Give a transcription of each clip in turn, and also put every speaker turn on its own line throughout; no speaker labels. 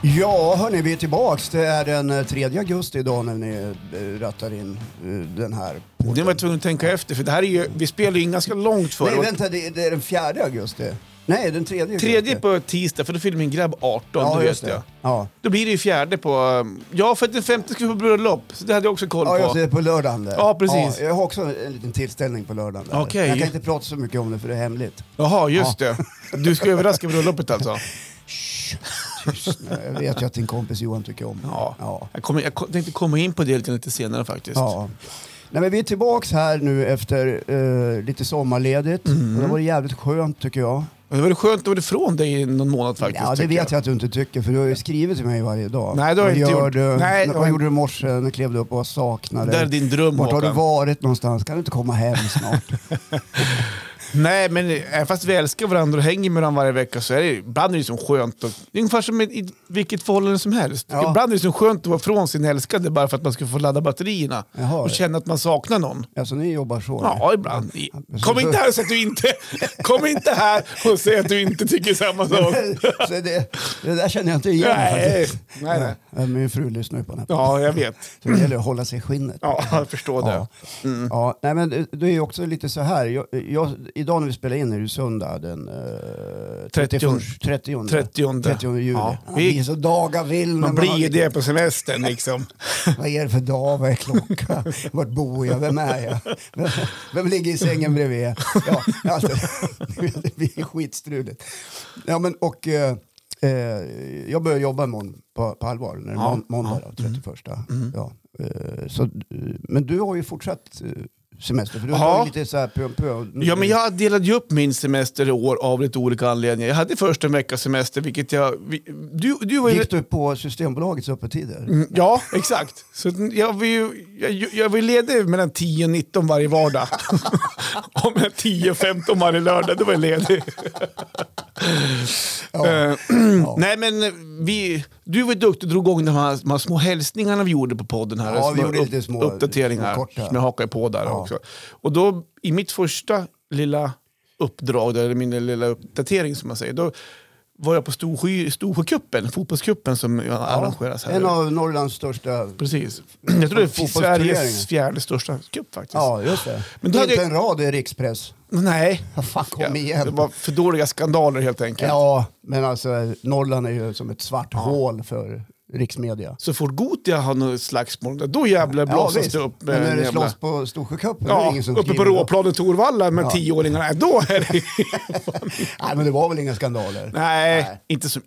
Ja, hörni, vi är tillbaks. Det är den eh, 3 augusti idag när ni eh, rattar in eh, den här
Det var
podden.
jag tvungen att tänka efter, för det här är ju, vi spelar ju in ganska långt före.
Nej,
Och
vänta, det, det är den 4 augusti. Nej, den 3 augusti.
Tredje på tisdag, för då fyller min grabb 18,
Ja,
då
just
vet
det.
jag.
Ja,
Då blir det ju fjärde på... um, Ja, för att den femte ska vi på bröllop, så det hade jag också koll
ja just
på.
det, på lördagen där.
Ja, precis.
Ja, jag har också en liten tillställning på lördagen där.
Okej.
Jag kan inte prata så mycket om det för det är hemligt.
Jaha, just det. Du ska överraska bröllopet alltså?
Tyst nu. Jag vet ju att din kompis Johan tycker om det.
Ja.
Ja.
Jag, kommer, jag ko- tänkte komma in på det lite, lite senare faktiskt.
Ja. Nej, men vi är tillbaks här nu efter eh, lite sommarledigt.
Mm.
Och det var jävligt skönt tycker jag.
Och Det var skönt att vara ifrån dig i någon månad faktiskt.
Ja, det
tycker
vet jag. att du inte tycker för du har ju skrivit till mig varje dag.
Nej, det har jag
Vad
inte
gör
gjort.
Du,
Nej,
vad
jag har-
gjorde du i morse? När klev du upp och saknade
Det där är din dröm,
Vart har du
Håkan.
varit någonstans? Kan du inte komma hem snart?
Nej, men även fast vi älskar varandra och hänger med varandra varje vecka så är det ibland är det som skönt. Och, det är ungefär som i- i vilket förhållande som helst.
Ja.
Ibland är det som skönt att vara från sin älskade bara för att man ska få ladda batterierna
Jaha.
och känna att man saknar någon.
alltså ni jobbar så?
Ja, ibland. Kom inte här och säg att du inte, kom inte här och säg att du inte tycker samma sak.
så det, det där känner jag inte igen
Nej,
faktiskt.
nej, nej.
Ja, Min fru lyssnar ju på den här.
Ja, jag vet.
Så det gäller att hålla sig i skinnet.
Ja, Mm. jag förstår det.
Ja. Ja, nej men det- det är ju också lite så här. Jag, jag, idag när vi spelar in är det ju söndag den eh,
30.
30,
30.
30 juli.
Ja,
Man
vi-
blir så dagar vill. när
Man blir
har-
ju det på semestern liksom.
Vad är det för dag? Vad är klockan? Vart bor jag? Vem är jag? Vem, vem ligger i sängen bredvid? Ja, allt det, det blir skitstruligt. Ja, men, och, eh, eh, jag börjar jobba imorgon på, på allvar, när det är
Ja, Mm.
mån- måndag då, 31. Ja, eh, så, eh, men du har ju fortsatt eh, semester, för du har
Ja.
tagit lite så här pö om pö.
Ja, men jag delade ju upp min semester i år av lite olika anledningar. Jag hade först en veckas semester, vilket jag... vi- Du, du var ju...
eh, Gick du på Systembolagets öppettider?
Mm, Ja, exakt. Så att jag var ju jag, jag var ju ledig mellan 10 och 19 varje vardag. och mellan 10 och 15 varje lördag, då var jag ledig. Eh, Nej, men vi, du var ju duktig och drog igång de här, de här små hälsningarna vi gjorde på podden. här.
Ja, vi
Små
gjorde lite små-
Uppdateringar
korta.
som jag hakade på där också. Och då, i mitt första lilla uppdrag, eller min lilla uppdatering som man säger, då var jag på Storsjö- Storsjöcupen, fotbollscupen som arrangeras här.
en av Norrlands största...
Precis. Jag tror det är
Fotbollsturneringen.
Sveriges fjärde största cup faktiskt.
Ja, just det.
Men då hade
Inte
jag-
en rad i rikspress.
Nej.
Fan, kom igen.
Det var för dåliga skandaler helt enkelt.
Ja, men alltså Norrland är ju som ett svart hål för riksmedia.
Så fort Gotia har något slagsmål, då jävlar
Ja,
blåses
visst.
det upp.
men när
en
det
jävla-
slåss på Storsjöcupen, då är det
Ja,
ingen som
uppe på
skriver då.
Råplan i Torvalla med tioåringarna. Då är det...
Nej, men det var väl inga skandaler?
Nej, inte som...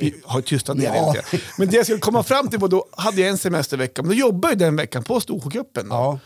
Vi har tystat ner
Ja.
det lite. Men det jag skulle komma fram till var då hade jag en semestervecka, men då jobbade jag den veckan på Storsjöcupen. då.
Ja.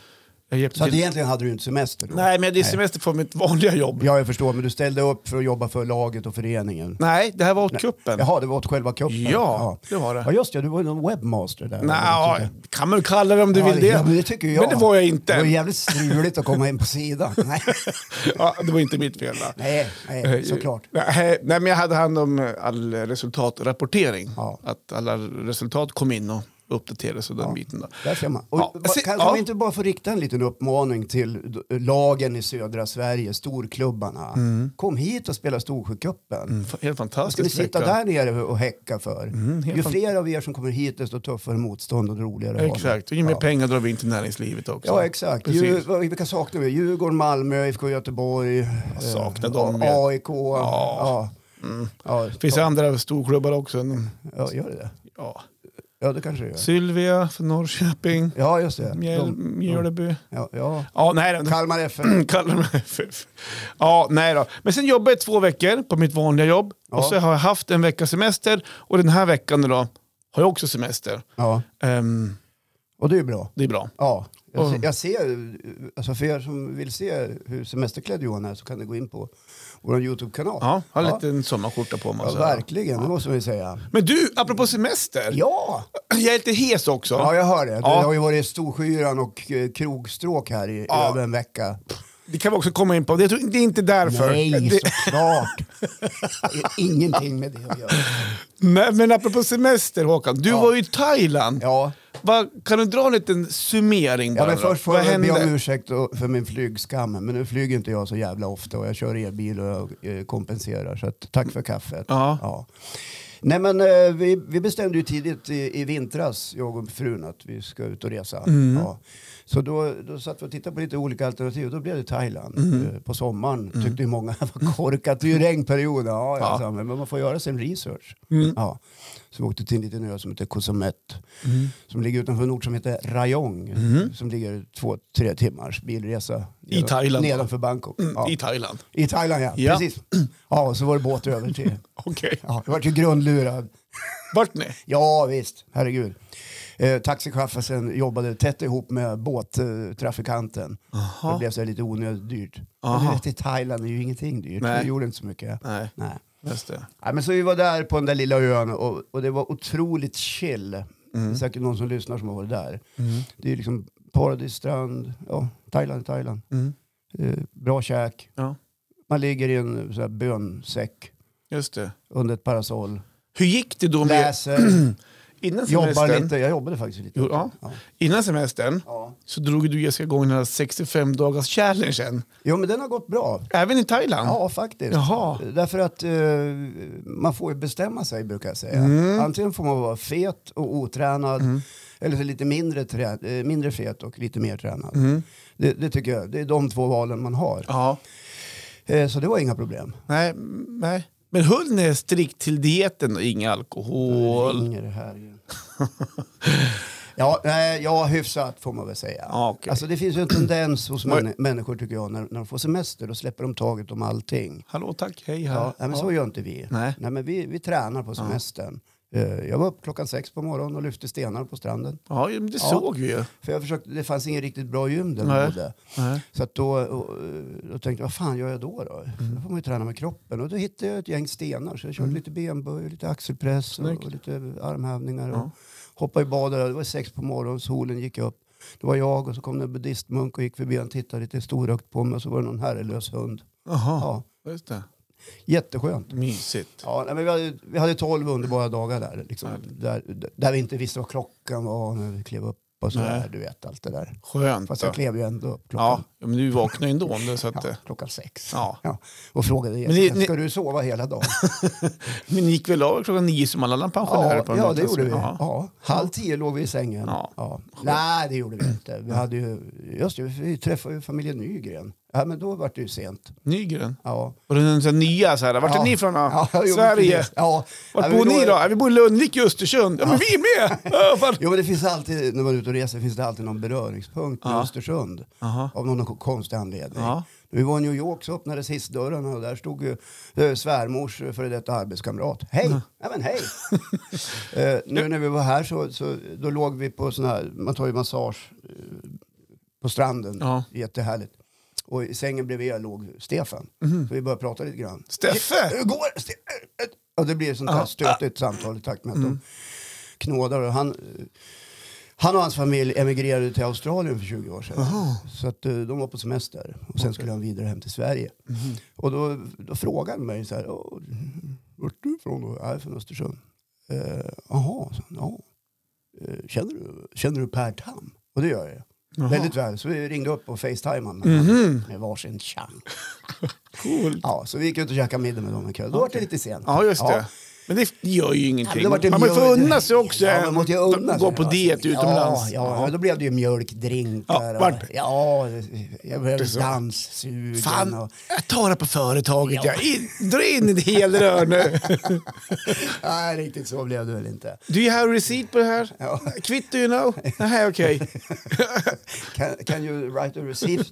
Jag hjälpte
Så att
till-
egentligen hade du inte semester då?
Nej, men jag hade semester från mitt vanliga jobb.
Ja, jag förstår, men du ställde upp för att jobba för laget och föreningen.
Nej, det här var åt cupen.
Jaha, det var åt själva cupen?
Ja, det var det.
Ja, just det, du var ju någon webbmaster där.
Nej, ja, kan man kalla det om du
Ja,
vill det.
Ja, men det tycker jag.
Men det var jag inte.
Det var jävligt struligt att komma in på sidan. Nej,
ja, det var inte mitt fel. va? Eh,
nej, nej såklart.
Nej, nej, men jag hade hand om all resultatrapportering.
Ja.
Att alla resultat kom in och uppdaterades och den biten. Då.
Där ser man. Och
Ja,
va-
se-
kanske
ja.
man inte bara får rikta en liten uppmaning till d- lagen i södra Sverige, storklubbarna. Kom hit och spela Storsjöcupen.
Mm, fa- Helt
Vad ska vi
fantastiskt.
sitta
vecka.
där nere och häcka för?
Mm,
ju fler av er som kommer hit desto tuffare motstånd och roligare har vi.
Exakt, och ju mer pengar drar vi in till näringslivet också.
Ja exakt. Ju, vad- vilka saknar vi? Djurgården, Malmö, IFK Göteborg, eh,
saknar dem Mm. ju.
AIK. Ja. Ja.
Finns det andra storklubbar också? Mm,
ja, gör det det?
Ja.
Ja, det kanske det gör.
Sylvia från Norrköping,
Ja, just det.
Mjöl,
De,
Mjölby.
ja, ja.
Ja, nej, de-
Kalmar FF.
kallar mig FF. Ja, nej då. Men sen jobbade jag två veckor på mitt vanliga jobb.
Ja.
Och så har jag haft en vecka semester. Och den här veckan då har jag också semester.
Ja.
Ehm,
Och det är ju bra.
det är bra.
Ja, jag,
Och-
se- jag ser, alltså för er som vill se hur semesterklädd Johan är så kan ni gå in på vår YouTube-kanal.
Ja, alltså. har en
Ja.
liten sommarskjorta på mig.
Ja,
och så här.
verkligen, det måste vi säga.
Men du, apropå semester.
Ja,
Jag är lite hes också.
ja jag hör det. Det
Ja.
har ju varit Storskyran och eh, krogstråk här i
Ja.
över en vecka.
Det kan vi också komma in på. Jag tror, det är inte därför.
Nej,
det,
såklart. Det är Ingenting med det att göra.
men, men apropå semester Håkan, du var ju i Thailand.
Ja.
Vad- kan du dra en liten summering?
Ja,
Bara,
men
då?
först får
Vad
jag be om
hände?
ursäkt och- för min flygskam, men nu flyger inte jag så jävla ofta och jag kör elbil och jag eh, kompenserar. Så att, tack för kaffet.
Ja.
Ja. Nej men eh, vi, vi bestämde ju tidigt i, i vintras, jag och frun, att vi ska ut och resa.
Mm.
Ja. Så då, då satt vi och tittade på lite olika alternativ. Då blev det Thailand
Mm.
eh, på sommaren. Tyckte ju många, vad korkat, det är ju regnperiod. Ja, ja.
Ja. Mm.
sa, men man får göra sin research. Ja. Så vi åkte till en liten ö som heter Koh Samet.
Mm.
Som ligger utanför en ort som heter Rayong. Som ligger två, tre timmars bilresa.
I Thailand, va? Mm.
Nedanför Bangkok. Ja.
I Thailand.
I Thailand ja,
Ja.
precis. Ja, och så var det båt över till.
Okej.
Ja, jag vart ju grundlurad.
Vart ni?
Ja visst, herregud. Eh, Taxichauffören jobbade tätt ihop med båttrafikanten.
Aha.
Det blev så här lite onödigt dyrt. Men du
Aha.
vet, i Thailand är ju ingenting dyrt.
Nej.
Det gjorde inte så mycket.
Nej,
Nej.
just det.
Ja, men så vi var där på den där lilla ön och, och det var otroligt chill.
Mm.
Det är säkert någon som lyssnar som har varit där. Det är liksom paradisstrand, ja, Thailand, Thailand.
Mm.
Eh, bra käk.
Ja,
Man ligger i en så här, bönsäck
just det.
under ett parasoll.
Hur gick det då med,
Läser,
innan
jobbar
semestern?
lite. Jag jobbade faktiskt lite.
Jo, ja.
Ja.
Innan semestern
Ja.
så drog du Jessica igång den här 65 dagars challengen.
Jo, men den har gått bra.
Även i Thailand?
Ja, faktiskt.
Jaha.
Därför att eh, man får ju bestämma sig, brukar jag säga.
Mm.
Antingen får man vara fet och otränad, eller så lite mindre, trä- eh, mindre fet och lite mer tränad.
Mm.
Det, det tycker jag. Det är de två valen man har.
ja.
Eh, så det var inga problem.
Nej, m- nej. Men höll ni er strikt till dieten och inga alkohol?
Ringer det här igen. Ja, nej, ja, hyfsat får man väl säga.
Ja, okej.
Alltså, det finns ju en tendens hos
Var-
män- människor tycker jag när, när de får semester, då släpper de taget om allting.
Hallå tack, hej här.
Ja, nej, men så gör inte vi.
Nej.
men vi, vi tränar på semestern. Eh, Jag var upp klockan sex på morgonen och lyfte stenar på stranden.
Ja, men det såg vi ju.
För jag försökte, det fanns ingen riktigt bra gym där
Nej.
vi bodde.
Nej.
Så att då, och, eh, då tänkte jag, vad fan gör jag då? Då, då får man ju träna med kroppen. Och då hittade jag ett gäng stenar. Så jag körde lite benböj, lite axelpress och,
Snyggt.
och lite armhävningar. Och hoppade i badet. Det var sex på morgonen, solen gick upp. Det var jag och så kom det en buddhistmunk och gick förbi och tittade lite storögt på mig. Och så var det någon herrelös hund.
Jaha,
Ja,
just det.
jätteskönt.
Mysigt.
Ja, nej, men vi, hade, vi hade 12 underbara dagar där, liksom, där. Där vi inte visste vad klockan var när vi klev upp och sådär.
Nej.
Du vet allt det där.
Skönt.
Fast
då.
jag klev ju ändå upp
Ja,
klockan,
men du vaknade ju ändå om det. Så att,
ja.
eh,
klockan sex.
ja.
Ja, och frågade
ni-
Jessica,
ni-
ska du sova hela dagen?
Men ni gick väl av klockan nio som alla andra pensionärer?
ja,
på den
ja,
båten,
det
så-
gjorde vi.
Ja.
Ja. Halv tio låg vi i sängen.
Ja.
Nej, det gjorde vi inte. Vi hade ju, just det, vi träffade ju familjen Nygren. Ja, men då var det ju sent.
Nygren?
Ja.
Och den så här nya så här, vart är
Ja.
ni ifrån då?
Ja, jo,
Sverige?
precis. Ja.
Vart
Ja, men
bor ni
är-
då? Ja, vi bor i Lundvik i Östersund. Ja, men vi är med! Ja, fan.
Jo men det finns alltid, när man är ute och reser, finns det alltid någon beröringspunkt med
Ja.
Östersund.
Aha.
Av någon konstig anledning.
Ja.
När vi var i New York så öppnades hissdörrarna och där stod ju eh, svärmors eh, före detta arbetskamrat. Hej! Ja men hej! eh, nu när vi var här så, så då låg vi på sån här, man tar ju massage eh, på stranden.
Ja.
Jättehärligt. Och i sängen bredvid jag låg Stefan.
Mhm.
Så vi började prata lite grann.
Steffe!
Hur går det? Ste- Ja, det blir ett sånt här stötigt samtal i takt med att de knådar. Och han, han och hans familj emigrerade till Australien för 20 år sedan. Så att, eh, de var på semester och sen skulle han vidare hem till Sverige. Och då, då frågade han mig så här, "Åh, vart är du ifrån då? Jag är från Östersund. Eh, Jaha, sa han, ja. Eh, Känner du, känner du Per Tam? Och det gör jag. Väldigt väl. Så vi ringde upp och facetimade med, med varsin chang.
Cool.
Ja, så vi gick ut och käkade middag med dem en kväll. Då var det lite sent.
Ja, just det. Men det gör ju ingenting.
Ja, men det var
man
ju
måste få
mjöl-
unna sig också.
Ja, man måste ju unna sig.
Gå på diet utomlands.
Ja, ja, men då blev det ju mjölkdrinkar.
Ja,
och-
vart?
ja jag blev
så.
danssugen.
Fan,
Och,
jag tar det på företaget. Ja. In, dra in ett helrör nu.
nej, riktigt så blev det väl inte.
Do you have a receipt på det här?
Ja.
Kvitt do you know? Nej, okej.
Can, can you write a receipt?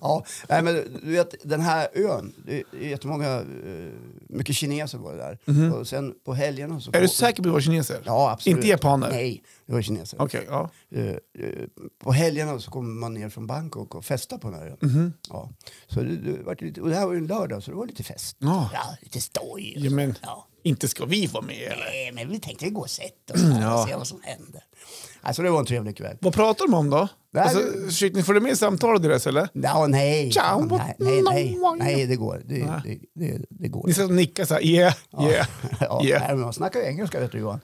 ja, nej, men du vet, den här ön, det är jättemånga, eh, mycket kineser var det där. Och sen på helgerna så...
Mhm. Är du säker på att det var kineser?
Ja, absolut.
Inte japaner?
Nej, det var kineser.
Okej, ja.
Eh, eh, på helgerna så kommer man ner från Bangkok och festar på den här ön.
Mhm.
Ja. Så det, det, var lite, och det här var ju en lördag så det var lite fest.
Ja.
lite stoj. och
Ja, men-
så. Ja.
Inte ska vi vara med eller?
Nej, men vi tänkte gå och sätta oss här
Ja.
och se vad som hände. Alltså det var en trevlig kväll.
Vad pratar de om då?
Nej,
alltså,
det-
Försökte ni följa med i samtalet deras eller?
Ja, nej.
Ciao.
nej, nej, nej, nej, det går. Det, det, det, det går.
Ni ska nicka så här, yeah, yeah,
Ja,
yeah.
nej, men man snackar ju engelska vet du Johan.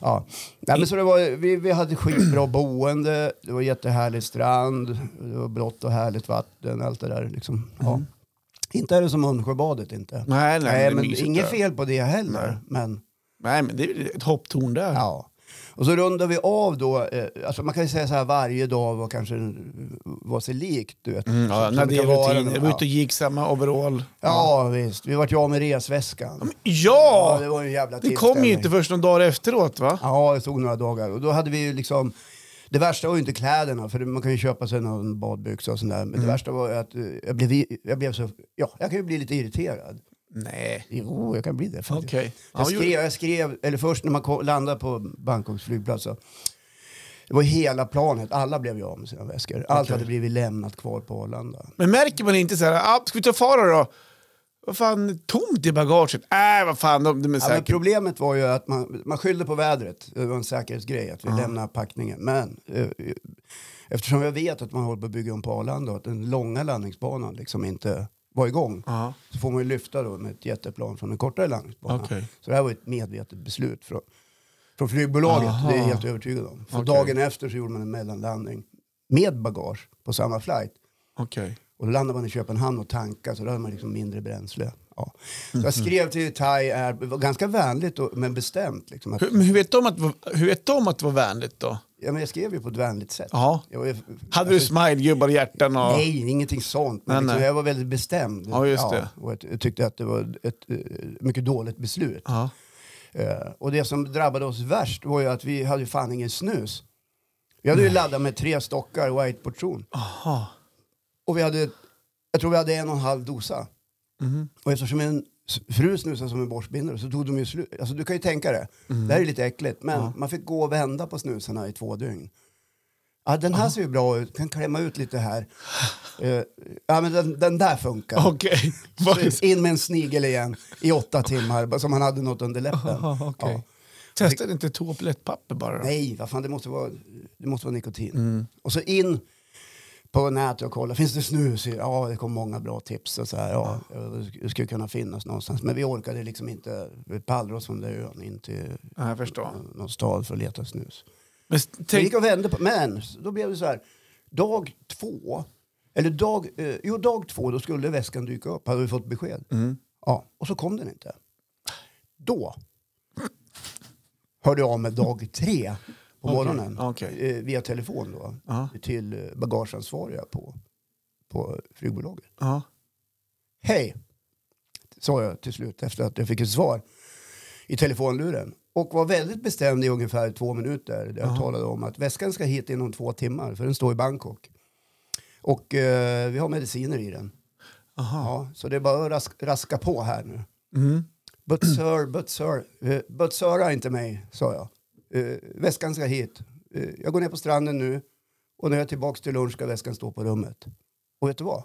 Ja. Nej, men så det var, vi, vi hade skitbra boende, det var jättehärlig strand, det var blått och härligt vatten, allt det där liksom. Ja. Inte är det som Munksjöbadet inte.
Mm. Nej, nej, men det är
men
mysigt
inget
där.
fel på det heller. Men
Nej, men det är väl ett hopptorn där.
Ja. Och så rundar vi av då, eh, alltså man kan ju säga så här varje dag var kanske var sig likt. Du vet.
Mm, ja,
Som-
när
som
det
kan
är
vara
rutin.
den-
Jag var ute och
ja.
gick samma overall.
ja visst, vi vart ju av med resväskan. Ja,
Ja!
det var ju en jävla
Det
tips
kom
där.
ju inte först några dagar efteråt va?
Ja, det tog några dagar. Och då hade vi ju liksom... Det värsta var ju inte kläderna, för man kan ju köpa sig någon badbyxa och sånt där. Men
Mm.
det värsta var ju att eh, jag blev, i- jag blev så... Ja, jag kan ju bli lite irriterad.
Nej.
Jo, jag kan bli det faktiskt.
Okej.
Jag,
Ja, jo.
skrev, jag skrev, eller först när man ko- landade på Bangkoks flygplats så... Det var hela planet, alla blev ju av med sina väskor. Allt
Okej.
hade blivit lämnat kvar på Arlanda.
Men märker man inte så här, ah, ska vi ta fara då? Vad fan, tomt i bagaget? Nej, äh, vad fan, de, de är
Ja, men
säkert...
problemet var ju att man, man skyllde på vädret. Det var en säkerhetsgrej att vi lämnar packningen. Men eh, eftersom jag vet att man håller på att bygga om på Arlanda och att den långa landningsbanan liksom inte var igång
Ja,
så får man ju lyfta då med ett jätteplan från den kortare landningsbanan.
Okej.
Så det här var ett medvetet beslut från, från flygbolaget.
Aha.
Det är jag helt övertygad om. För
Okej.
dagen efter så gjorde man en mellanlandning med bagage på samma flight.
okej.
Och då landade man i Köpenhamn och tankade så då hade man liksom mindre bränsle. Ja. Så
Mhm.
jag skrev till Thai Air, det var ganska vänligt och, men bestämt. Liksom, att,
Hur, men hur vet de att, hur vet de att det var vänligt då?
ja, men jag skrev ju på ett vänligt sätt.
Ja.
Jag, var ju-
Hade du
alltså,
smilegubbar i hjärtan och...
Nej, ingenting sånt. Men
Nej,
liksom,
nej.
jag var väldigt bestämd.
Ja, just det.
och jag, jag tyckte att det var ett eh, mycket dåligt beslut.
Ja.
Eh, och det som drabbade oss värst var ju att vi hade ju fan ingen snus. Vi hade ju laddat med tre stockar white portion.
Aha.
Och vi hade, jag tror vi hade en och en halv dosa.
Mhm.
Och eftersom en s- fru snusade som en borstbindare så tog de ju slut. Alltså du kan ju tänka det. Det här är lite äckligt. Men man fick gå och vända på snusarna i två dygn. Ja, den här ser ju bra ut. Kan klämma ut lite här. Eh, ja, men den, den där funkar.
Okej.
Så In med en snigel igen i åtta timmar bara som han hade något under läppen.
Aha, okej.
Ja.
Testade inte toalettpapper bara? då?
Nej, vad fan, det måste vara, det måste vara nikotin. Och så in på nätet och kolla, finns det snus? i- Ja, det kom många bra tips. Och så här, ja, Det skulle kunna finnas någonstans. Men vi orkade liksom inte pallra oss från den där ön in till
Ja, jag förstår.
någon stad för att leta snus.
Men s-
Vi
tänk,
gick och vände på, men då blev det så här, dag två, eller dag, eh, jo dag två, då skulle väskan dyka upp, hade vi fått besked.
Mm.
Ja, och så kom den inte. Då hörde jag av mig dag tre på
Okej,
morgonen
okej.
eh, via telefon då
Ja.
till eh, bagageansvariga på, på flygbolaget.
ja.
Hej, sa jag till slut efter att jag fick ett svar i telefonluren. Och var väldigt bestämd i ungefär två minuter där jag talade om att väskan ska hit inom två timmar för den står i Bangkok. Och eh, vi har mediciner i den.
Aha.
Ja, så det är bara att rask, raska på här nu.
Mm.
But sir, but sir, eh, but sir är inte mig, sa jag. Eh, väskan ska hit. Eh, jag går ner på stranden nu och när jag är tillbaka till lunch ska väskan stå på rummet. Och vet du vad?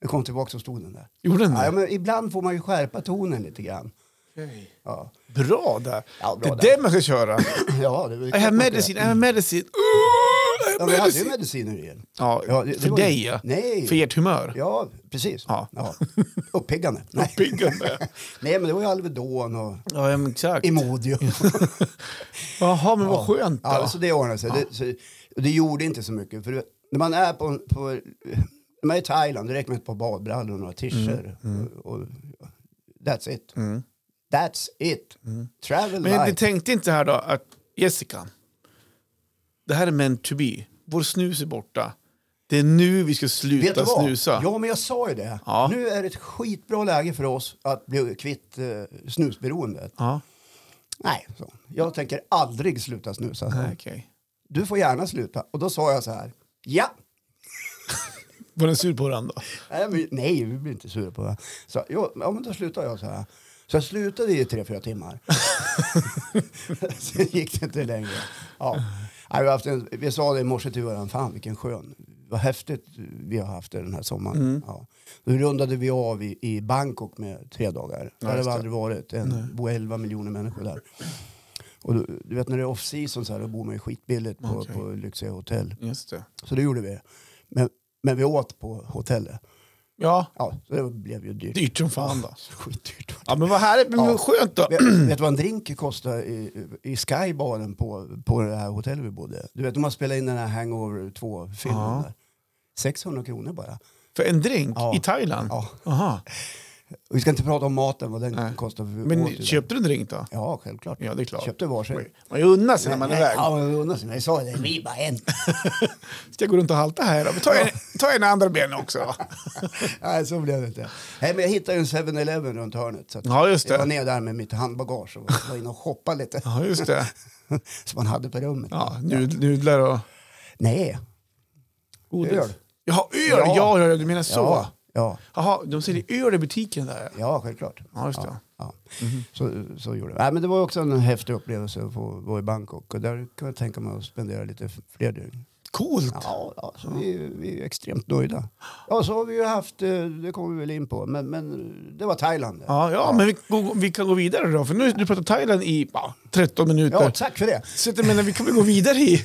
Jag kom tillbaka och stod den där.
Gjorde den
Ja,
det?
men ibland får man ju skärpa tonen lite grann.
Okej.
Ja,
Bra där.
Ja,
det
bra
är
där.
det man ska köra.
ja det var ju
I
klart
have
man
medicine, I
kan.
have medicine. Ooh, I
Ja,
have
men jag hade ju
medicine.
mediciner i den.
Ja,
Ja, det- det
för
var ju-
dig ja.
Nej.
För ert humör.
Ja, precis.
Ja.
Uppiggande. Nej.
Piggande.
Nej, men det var ju Alvedon och
Ja, ja, men exakt.
Imodium.
Jaha, men vad skönt då.
Ja, alltså, så det ordnade sig. Det, så, det gjorde inte så mycket. För när man är, på, på, när man är i Thailand, det räcker med ett par badbrallor och några
Mm,
t-shirts. Och, och, that's it. That's it. Travel
Mm. men ni
life.
tänkte inte här då att Jessica, det här är meant to be. Vår snus är borta. Det är nu vi ska
Vet du
sluta
vad?
snusa.
Ja, men jag sa ju det.
Ja.
Nu är det ett skitbra läge för oss att bli kvitt eh, snusberoendet.
Ja,
Nej, så. jag tänker aldrig sluta snusa. Så.
nej, okej.
Du får gärna sluta. Och då sa jag så här. Ja!
Var den sur på varandra? då?
Nej, men, nej vi blir inte sura på det. Så, jo, ja, men då slutar jag så här. Så jag slutade i tre, fyra timmar. Sen gick det inte längre. Ja. Nej, vi, har haft en, vi sa det i morse till varandra, fan vilken skön, vad häftigt vi har haft det den här sommaren.
Mm.
Ja. Då rundade vi av i, i Bangkok med tre dagar. Där har
just
vi
det.
aldrig varit, en, bor 11 miljoner människor där. Och du, du vet när det är off-season så här, då bor man ju skitbilligt på,
Okej.
på lyxiga hotell.
Just det.
Så det gjorde vi. Men, men vi åt på hotellet.
Ja,
Ja, så det blev ju dyrt.
dyrt som fan då.
Skitdyrt.
Ja, men vad härligt. Men
Ja.
vad skönt då.
Vet, vet du vad en drink kostar i, i skybaren på, på det här hotellet vi bodde? Du vet, de har spelat in den här Hangover 2-filmen
Ja.
där. 600 kronor bara.
För en drink
Ja.
i Thailand?
Ja.
Aha.
Vi ska inte prata om maten, vad den
Nej.
kostar. För åt ju
Men
det.
köpte du en drink då?
Ja, självklart.
Ja, det är klart.
Köpte varsin.
Man unnar sig när man är
Nej,
iväg.
Ja, men vi undrar sig. Men jag sa det, vi bara en.
Ska jag gå runt och halta här då? Men Ta en, ta en andra ben också då.
Nej, så blev det inte. Nej, men jag hittade ju en 7-Eleven runt hörnet. Så att
Ja, just
Jag var
det.
ner där med mitt handbagage och var inne och shoppade lite.
Ja, just det.
Som man hade på rummet.
Ja, nud- nudlar och
Nej.
godis.
Öl.
Jaha, öl!
Ja.
Ja, ja, ja, du menar så.
Ja, ja,
Jaha, de säljer öl i butiken där.
ja självklart.
Ja, just det.
Ja. Så, så gjorde jag. Nej, men det var också en häftig upplevelse att få vara i Bangkok. Och där kan jag tänka mig att spendera lite fler dygn.
Coolt!
Ja, ja så vi, vi är extremt nöjda. Ja, så har vi ju haft, eh, det kommer vi väl in på, men, men det var Thailand.
Ja, ja, men vi, går- vi kan gå vidare då. För nu du pratar Thailand i ja, 13 minuter.
Ja, tack för det.
Så att jag menar, vi kan väl gå vidare i...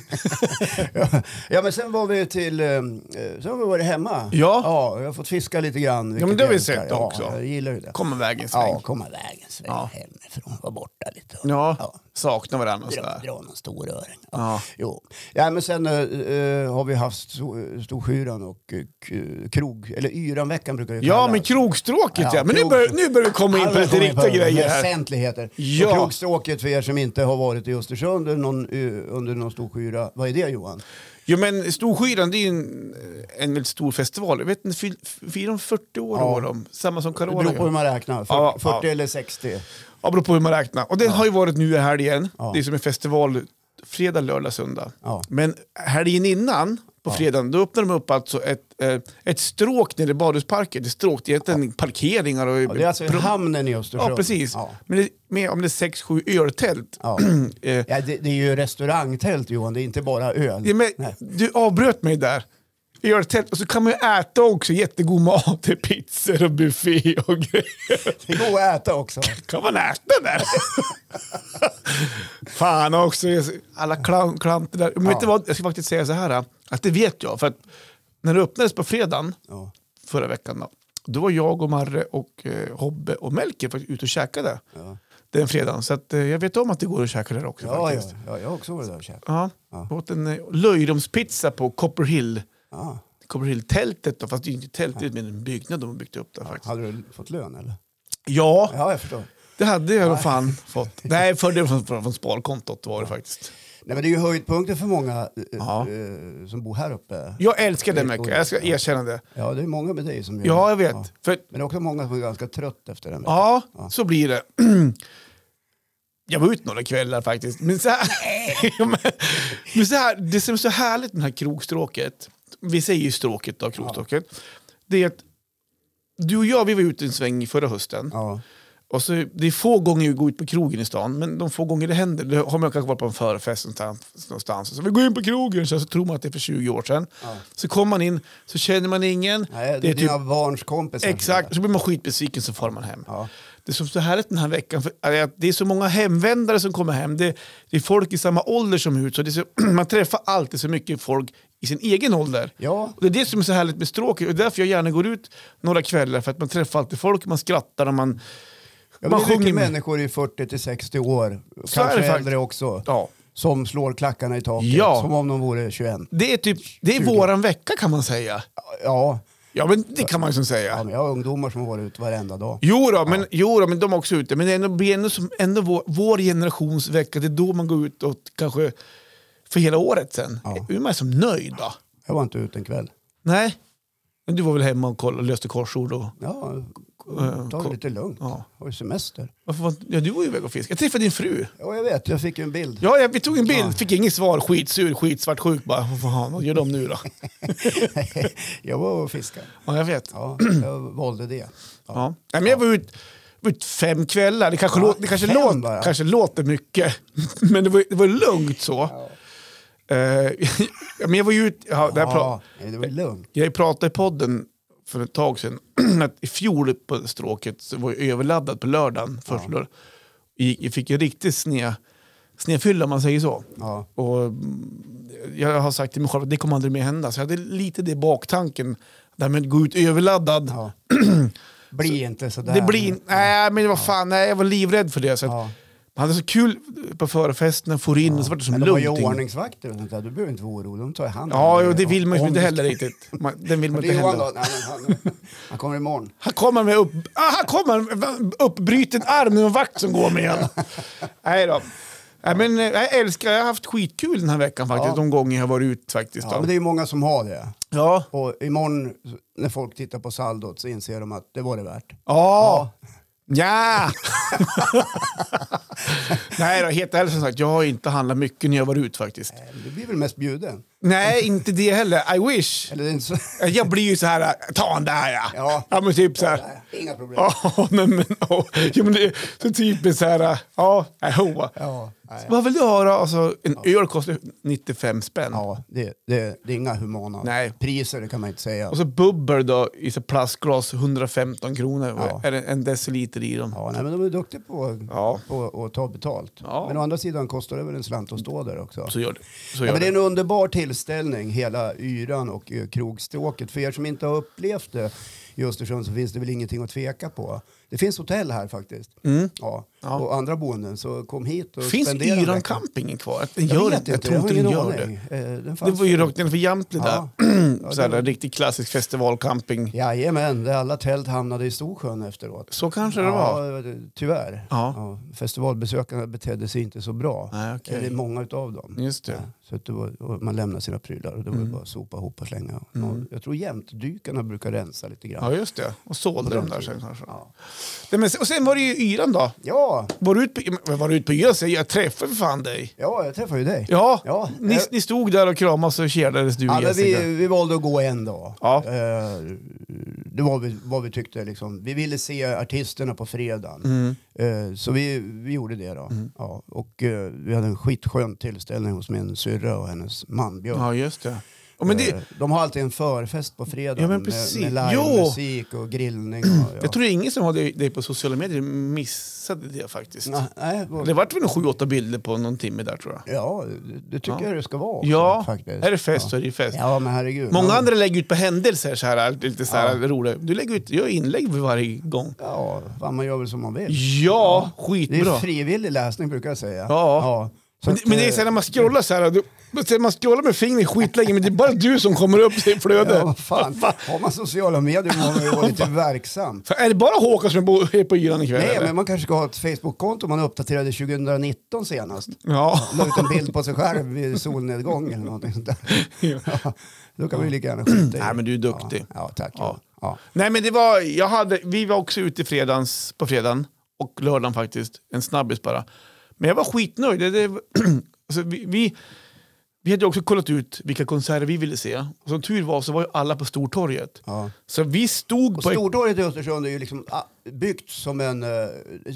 Ja, men sen var vi till, eh, sen har vi varit hemma.
Ja.
ja jag har fått fiska lite grann. vilket
men det har vi
jag älskar.
sett också.
Ja, jag gillar ju det.
Komma vägen sväng.
ja,
Ja,
komma vägen, sväng
Ja.
hemifrån, vara borta lite. och-
sakna varandra och
Dra,
sådär.
dra någon stor öring. Ja.
Ja.
Jo. Ja, men sen eh, eh, har vi haft so- Storskyran och eh, k- krog, eller Yranveckan brukar det
Ja,
kallas.
men krogstråket
Ja,
ja. Men nu
krog-
börjar, nu börjar vi komma in på
Alltså,
lite
kom in
riktiga
på
grejer här.
Väsentligheter.
Ja.
Och krogstråket för er som inte har varit i Östersund under någon, eh, under någon Storskyra, vad är det Johan?
Jo, men Storskyran det är ju en, en väldigt stor festival. Jag vet inte, fil- firar de 40 år
Ja.
i år? De, samma som
Det beror på hur
Carola.
man räknar, Fyrt-
Ja,
40
ja.
eller 60.
Ja, beror på hur man räknar. Och det har ju varit nu i helgen.
Ja.
Det är som en festival fredag, lördag, söndag.
Ja.
Men helgen innan, på fredagen, då öppnar de upp alltså ett, eh, ett stråk nere i Badhusparken. Det är stråk, det är egentligen parkeringar och...
Ja, det är alltså
pro-
hamnen i Östersund.
Ja, precis.
Ja.
Men det, med, om det är sex, sju öltält.
Ja.
eh,
Ja, det, det är ju restaurangtält Johan, det är inte bara öl.
Ja, men, du avbröt mig där. Jag gör ett tält och så kan man ju äta också jättegod mat. Det är Pizzor och buffé och grejer.
Det går att äta också.
kan man äta där? Fan också, jag- alla klan- klanter där. Men vet du vad, jag ska faktiskt säga så här, att det vet jag. För att när det öppnades på fredagen
Ja.
förra veckan, då, då var jag och Marre och eh, Hobbe och Melker faktiskt ute och käkade den fredagen. Så att, eh, jag vet om att det går att käka där också
Ja, ja,
faktiskt.
ja, jag har också varit där och käkat.
Ja. Åt en eh, löjromspizza på Copper Hill.
Ja.
Copper Hill-tältet då, fast det är ju inte tältet men en byggnad de har byggt upp där faktiskt.
Hade du fått lön eller?
Ja,
Ja, jag förstår.
det hade jag nog fan fått. Nej, för det från, från sparkontot var det faktiskt.
Nej, men det är ju höjdpunkter för många eh,
Ja.
eh, som bor här uppe.
Jag älskar det mycket, jag ska erkänna det.
Ja, det är många med dig som gör
Ja, jag
det.
vet. För,
Men det är också många som är ganska trött efter den. veckan.
ja, så blir det. Jag var ute några kvällar faktiskt. Men så här, men så här, det som är så härligt med det här krogstråket, vi säger ju stråket då, krogstråket, det är att du och jag vi var ute en sväng förra hösten.
Ja.
Och så, det är få gånger vi går ut på krogen i stan, men de få gånger det händer, det har man kanske varit på en förfest någonstans- någonstans. Så vi går in på krogen, så, så tror man att det är för 20 år sedan. Så kommer man in, så känner man ingen.
Nej, det
det
är
är typ,
dina barns kompisar.
exakt, så blir man skitbesviken så far man hem.
Ja.
Det som är så härligt den här veckan för, är att det är så många hemvändare som kommer hem. Det, det är folk i samma ålder som är ute, så det är så, man träffar alltid så mycket folk i sin egen ålder.
Ja,
Och det är det som är så härligt med stråket och därför jag gärna går ut några kvällar för att man träffar alltid folk, man skrattar och man...
ja men
man
det är mycket
sjunger med.
människor i 40 till 60 år,
Så är
kanske
det faktiskt.
äldre också,
Ja.
som slår klackarna i taket
Ja.
som om de vore 21.
Det är, typ, det är våran vecka kan man säga.
Ja,
Ja, men det kan man ju som
ja
säga.
men jag har ungdomar som har varit ute varenda dag.
Jo då, men, jo då, men de är också ute. Men det är ändå, blir ändå, som, ändå vår, vår generations vecka, det är då man går ut och kanske för hela året sen.
Ja.
Är man som nöjd då?
Jag var inte ute en kväll.
Nej. Men du var väl hemma och kollade, löste korsord och...
Ja, ta det
Eh, ko-
lite lugnt.
Ja.
Har ju semester.
Varför var, ja, du var ju iväg och fiskade. Jag träffade din fru.
Ja, jag vet. Jag fick ju en bild.
Ja, jag, vi tog en bild, fick inget svar. Skitsur, skitsvartsjuk bara. Vad fan, vad gör de nu då?
jag var och fiskade.
Ja, jag vet.
Ja, jag valde det. Ja.
Ja. Nej, men jag var ute ut fem kvällar. Det kanske,
Ja,
låt, det kanske,
fem
låt,
bara.
kanske låter mycket, men det var, det var lugnt så. Eh, ja, men jag var ju ute... Ja, där pra-
Ja, nej, det var lugnt.
jag pratade i podden för ett tag sedan att i fjol på stråket så var jag överladdad på lördagen. Första lördagen. Gick- Jag fick en riktig sned, snedfylla om man säger så.
Ja.
Och mm, jag har sagt till mig själv att det kommer aldrig mer hända. Så jag hade lite det i baktanken. Det här med att gå ut överladdad.
Ja. Bli inte sådär.
Det blir... Nej, men vad fan, nej, jag var livrädd för det. Så att
Ja.
man Han hade så kul på förfesten, får in och så var det som
Men de har ju
lugnt. inne.
ordningsvakter och sånt där. Du behöver inte vara orolig. De tar hand om
Ja,
dig.
jo, det vill man ju
Om
inte
du-
heller riktigt. Man, den vill man
Det är
inte
Johan
heller.
då. Nej, men han, han kommer imorgon.
Han kommer med upp, ah, han kommer med uppbruten arm med en vakt som går med en. Nej då. Nej, men eh, jag älskar, jag har haft skitkul den här veckan faktiskt.
Ja.
De gånger jag har varit ut faktiskt.
Ja,
Ja,
men det är ju många som har det.
ja.
Och imorgon när folk tittar på saldot så inser de att det var det värt. Eh,
ja. ja. Nej då, helt ärligt som sagt, jag har inte handlat mycket när jag var ut faktiskt.
Du blir väl mest bjuden?
Nej, inte det heller. I wish.
Eller det är inte så...
Jag blir ju så här, ta den där ja.
Ja.
ja men typ så här.
Nej, Inga problem. Ja.
Ja, men, men, ja. Jo, men det är så typiskt så här, ja, nej, hoa.
nej.
Vad vill du ha då? Alltså, en öl kostar 95 spänn.
ja det, det, det är inga humana
Nej.
priser, det kan man inte säga.
Och så bubbel då i så plastglas, 115 kronor.
Ja.
Är det en deciliter i dem?
Ja, nej, men de är duktiga på,
Ja.
på, att ta betalt.
Ja.
Men å andra sidan kostar det väl en slant att stå där också.
Så gör det. Så
Ja,
gör
men det är en
det.
underbar tillställning, hela yran och eh, krogstråket. För er som inte har upplevt det i Östersund så finns det väl ingenting att tveka på. Det finns hotell här faktiskt. Ja.
Mm. Ja.
Och andra boenden, så kom hit och
Finns
spendera en
Yran
vecka.
campingen kvar? Den
Jag
gör
vet
inte, jag
inte,
tror
har
inte den
ingen
gör
aning.
det.
Eh, Den
Det
fanns.
var ju rakt nedanför Jamtli där.
Ja,
så här,
det-
en riktig klassisk festivalcamping.
Jajamän, där alla tält hamnade i Storsjön efteråt.
Så kanske det var.
Ja, tyvärr.
Ja.
Festivalbesökarna betedde sig inte så bra.
Nej, okej.
Eller många utav dem.
Just det.
Ja, Så att det var, och man lämnar sina prylar och det var
Mm.
ju bara att sopa ihop och slänga. Och jag tror jämtdykarna brukar rensa lite grann.
Ja, just det. Och sålde
den
de där
tiden.
sen kanske.
Ja.
Nej, men, och sen var det ju Yran då.
Ja,
Var du ute på, var du ute på Yran? Så Jag träffade för fan dig.
ja jag träffade ju dig.
Ja,
Ja,
ni,
eh.
ni stod där och kramades och kedades du
Ja,
och
men
Jessica.
vi, vi valde att gå en dag.
Ja.
Eh, Det var vi, vad vi tyckte. Liksom. Vi ville se artisterna på fredagen.
Mm.
Eh, Så vi, vi gjorde det. då. Ja, och eh, vi hade en skitskön tillställning hos min syrra och hennes man Björn.
Ja, just det. Ja, men
Eh,
det
De har alltid en förfest på fredagen
Ja, men precis.
med, med
Jo.
livemusik och grillning. Och, ja.
jag tror ingen som hade dig på sociala medier missade det faktiskt.
Nej, nej, vad-
Det vart väl en sju, åtta bilder på någon timme där tror jag.
Ja, det- det tycker
Ja.
jag det ska vara. också,
Ja,
faktiskt.
är det fest
Eh, ja.
så är det ju fest.
Ja, men herregud.
Många
Ja.
andra lägger ut på händelser så här, lite så här
Ja.
roliga. Du lägger ut, gör inlägg varje gång.
Ja, fan, man gör väl som man vill.
Ja,
Det är
skitbra.
frivillig läsning brukar jag säga.
Ja.
Så
Men,
att, eh,
men det är så här när man scrollar så här, du, så här, man scrollar med fingret skitlänge men det är bara du som kommer upp i flödet.
eh, Ja, vad fan. Har man sociala medier måste man ju vara lite verksam.
Så är det bara Håkan som bor- är på yran ikväll?
Nej,
eller?
men man kanske ska ha ett Facebook-konto man uppdaterade 2019 senast.
Ja.
La ut en bild på sig själv vid solnedgång eller någonting sånt där.
Ja.
Ja, då kan vi lika gärna skita i det.
Nej, men du är duktig.
Ja, ja tack.
Ja.
Ja. Ja.
Nej, men det var, jag hade, vi var också ute fredags, på fredagen och lördagen faktiskt. En snabbis bara. Men jag var skitnöjd. Det, det, alltså, vi, vi, vi hade ju också kollat ut vilka konserter vi ville se. Och som tur var så var ju alla på Stortorget.
Ja.
Så vi stod
Och
på...
Stortorget i Östersund är ju liksom ah, byggt som en... eh,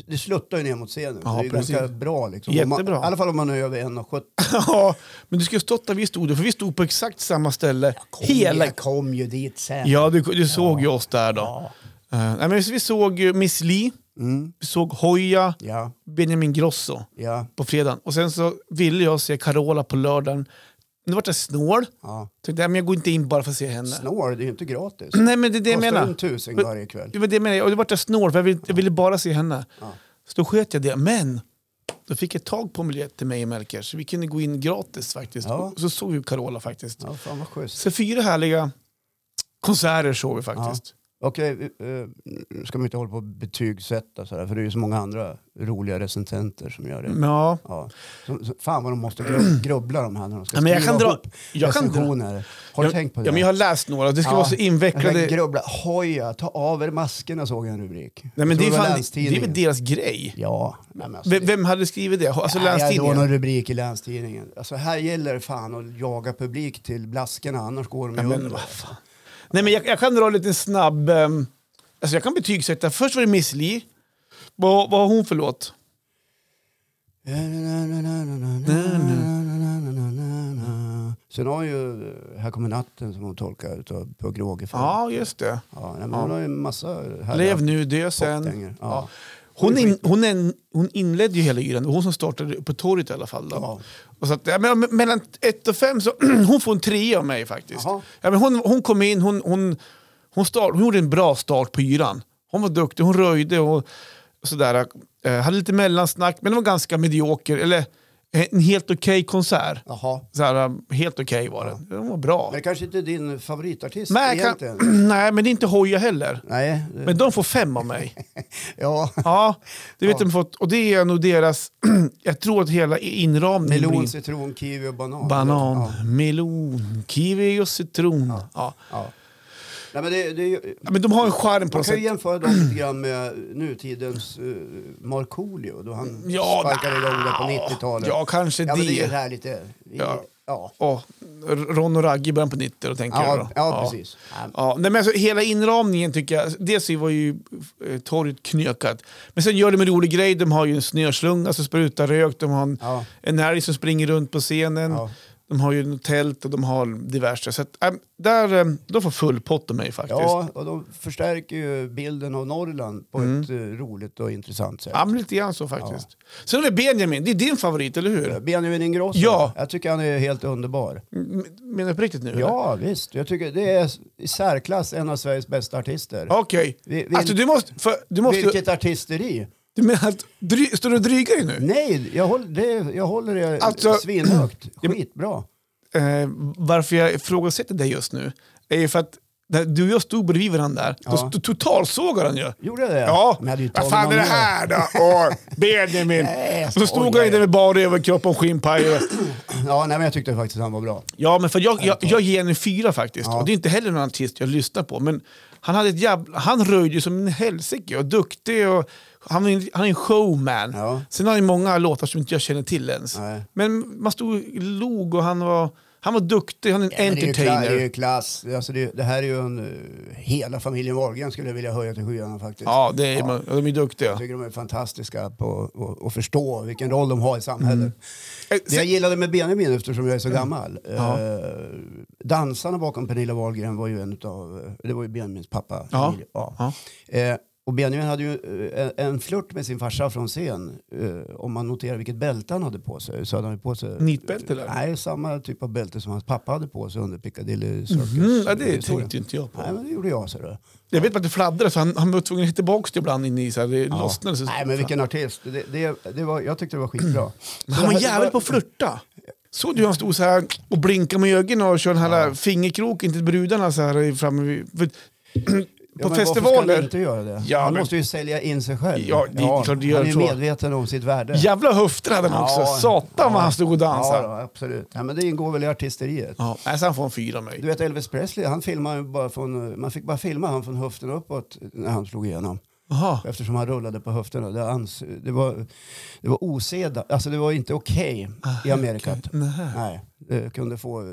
Det sluttar ju ner mot scenen.
Ja,
så det är ju
precis.
ganska bra liksom. Om Man,
Jättebra.
I alla fall om man är över 1,70.
ja, men du ska stått där vi stod, för vi stod på exakt samma ställe. hela...
Jag kom ju dit sen.
Ja, du, du såg ju oss där då. Eh, nej, men vi såg ju Miss Li,
Mm.
vi såg Hoya,
Ja,
Benjamin Grosso.
ja,
på fredagen. Och sen så ville jag se Carola på lördagen. Nu vart jag snål.
ja.
Tänkte, "Nej, men jag går inte in bara för att se henne.
Snår, det är ju inte gratis.
Nej, men Mm, det är det jag
Kostar
menar.
en tusing
Men-
varje kväll.
Det var det jag menade. Och det vart jag snål för jag ville, jag ville bara se henne.
Ja.
Så då sket jag det. Men då fick jag tag på en biljett till mig och Melker så vi kunde gå in gratis faktiskt.
Ja.
Och så såg vi Carola faktiskt.
Ja, fan vad schysst.
Så fyra härliga konserter såg vi faktiskt.
Okej, eh, nu ska man inte hålla på och betygsätta sådär, för det är ju så många andra roliga recensenter som gör det.
Men Ja.
Ja. Så, så, fan vad de måste grub- grubbla de här när de ska
Ja, men jag kan dra-
ihop
jag kan dra-
recensioner. Har du
jag,
tänkt på det?
Ja, men jag har läst några. Det ska
Ja.
vara så
Jag
invecklade...
grubbla. Hoja, ta av er maskerna såg jag en rubrik.
Nej, men
Jag
det,
tror var
är fan, det är
Länstidningen.
väl deras grej.
Ja, nej, men alltså,
Vem, vem hade skrivit det? Alltså
Nej, det var
Länstidningen?
någon rubrik i Länstidningen. Alltså här gäller det fan att jaga publik till blaskarna, annars går de ju
Ja, men
under.
vad fan. Nej, men jag, jag kan dra en liten snabb... ehm, alltså jag kan betygsätta. Först var det Miss Li. Vad, vad har hon för låt?
Sen har ju Här kommer natten som hon tolkar utav Pugh Rogefeldt.
Ja, just det.
Ja, nej, men hon har ju en massa härliga
Lev nu, dö sen.
popdängor.
Ja.
Ja.
Hon, in, hon, en, hon inledde ju hela yran. Det var Hon som startade på torget i alla fall. Då.
Ja.
Och så att, ja, men, mellan ett och fem så hon får en trea av mig faktiskt.
Jaha.
Ja, men hon, hon kom in, hon, hon, hon, start, hon gjorde en bra start på yran. Hon var duktig, hon röjde. Och, och sådär. Eh, hade lite mellansnack, men det var ganska medioker. Eller eh, en helt okej konsert.
Jaha.
Så här, eh, helt okej var den. Den var bra.
Men kanske inte din favoritartist
Nej, jag
egentligen?
kan, nej, men det är inte Hoja heller.
Nej, det-
Men de får fem av mig.
ja.
Ja, det vet
Ja.
de fått. Och det är nog deras, jag tror att hela inramningen
Melon,
blir
citron, kiwi och banan.
banan,
Ja.
melon, kiwi och citron. Ja.
ja. Nej, men det, det, är ju-
Ja, Men de har en charm på
man
något
kan ju
sätt.
jämföra dem lite grann med nutidens uh, Markoolio då han
Mm, Ja,
sparkade
nja.
igång det på 90-talet.
Ja, kanske
ja, men det är ju det
det.
här lite...
Ja.
Ja, ja.
Ja, Ron och Ragge i början på 90 då, tänker jag.
ja,
Då.
ja precis. Ja.
Ja, nej, men alltså, hela inramningen tycker jag, dels var ju eh, torget knökat. Men sen gör de en rolig grej, de har ju en snöslunga som sprutar rök, de har en,
Ja.
en älg som springer runt på scenen,
Ja.
de har ju ett tält och de har diverse. Så att, eh, där, eh, de får full pott av mig faktiskt. Mm. Ja.
Ja, och de förstärker ju bilden av Norrland på ett eh, roligt och intressant sätt.
men lite grann så faktiskt. Sen har vi Benjamin, det är din favorit, eller hur?
Benjamin Ingrosso,
Ja. Mm.
jag tycker han är helt underbar.
M- Menar du på riktigt nu? eller?
Ja, visst. Jag tycker det är i särklass en av Sveriges bästa artister.
Okej.
Vi- vi-
Alltså du måste... För, du måste
Vilket artisteri!
Du menar att... Dry, står du och drygar dig nu?
Nej, jag håller det, jag håller det
Alltså-
svinhögt. Skitbra.
eh, varför jag ifrågasätter dig just nu är ju för att när du och jag stod bredvid varandra där, då
Ja.
st- totalsågar han ju.
Gjorde jag det?
Ja,
Men jag hade ju
vad
tagit
fan
någon
är det
med.
här då? Åh, Benjamin.
Nej, jag
Så stod
skojar.
han ju där med bar överkropp och en skinnpaj. och-
Ja, nej, men jag tyckte faktiskt han var bra.
Ja, men för jag, jag, jag ger en fyra faktiskt.
Ja.
Och det är inte heller någon artist jag lyssnar på. Men han, hade ett jävla, han röjde ju som en helsike och duktig. Och, han, är en- han är en showman.
Ja.
Sen har han ju många låtar som inte jag känner till ens.
Nej.
Men man stod och log och han var, han var duktig. Han är en
Men Det är ju, kla-
entertainer.
det är ju klass. Alltså det, det här är ju en... eh, Hela familjen Wahlgren skulle jag vilja höja till skyarna faktiskt.
Ja, det är, man- de är duktiga.
Jag tycker de är fantastiska på att- att förstå vilken roll de har i samhället.
Eh,
Det jag
sen-
gillade med Benjamin, eftersom jag är så
Mm.
gammal, eh, dansarna bakom Pernilla Wahlgren var ju en utav, eh, det var ju Benjamins pappa.
Ja.
Emilio. Ja. Eh, och Benjamin hade ju eh, en, en flört med sin farsa från scen. Eh, om man noterar vilket bälte han hade på sig så hade han ju på sig...
Nitbälte, eller?
Nej, samma typ av bälte som hans pappa hade på sig under Piccadilly Circus.
Mm, ja, det
historien.
tänkte ju inte jag
Nej,
på.
men det gjorde jag. Så det.
Jag vet bara att det fladdrade så han, han var tvungen att hitta tillbaka det ibland inne i så här, det lossnade. Så,
Nej, men vilken artist. Det, det, det var, jag tyckte det var skitbra.
Men han var jävligt på att flirta. Såg du hur han stod så här och blinkade med ögonen och körde den här fingerkroken till brudarna så här i- framme vid, för,
Ja,
På
men Varför ska han
festivaler.
inte göra det?
Ja,
han
men-
måste ju sälja in sig själv.
Ja, det är klart det gör
han är ju
så.
medveten om sitt värde.
Jävla höfter hade han också.
Ja.
Satan
Ja.
vad han stod och
Ja,
dansade.
då, absolut. Ja, men det ingår väl i artisteriet.
Ja, nej, så han får en fyra av mig.
Du vet Elvis Presley, han filmade ju bara från, man fick bara filma han från höften uppåt när han slog igenom.
Jaha.
Eftersom han rullade på höfterna. Det, ans, det var, det var oseda, alltså det var inte okej
Ah,
i Amerika. att-
Nej.
Nej, det kunde få eh,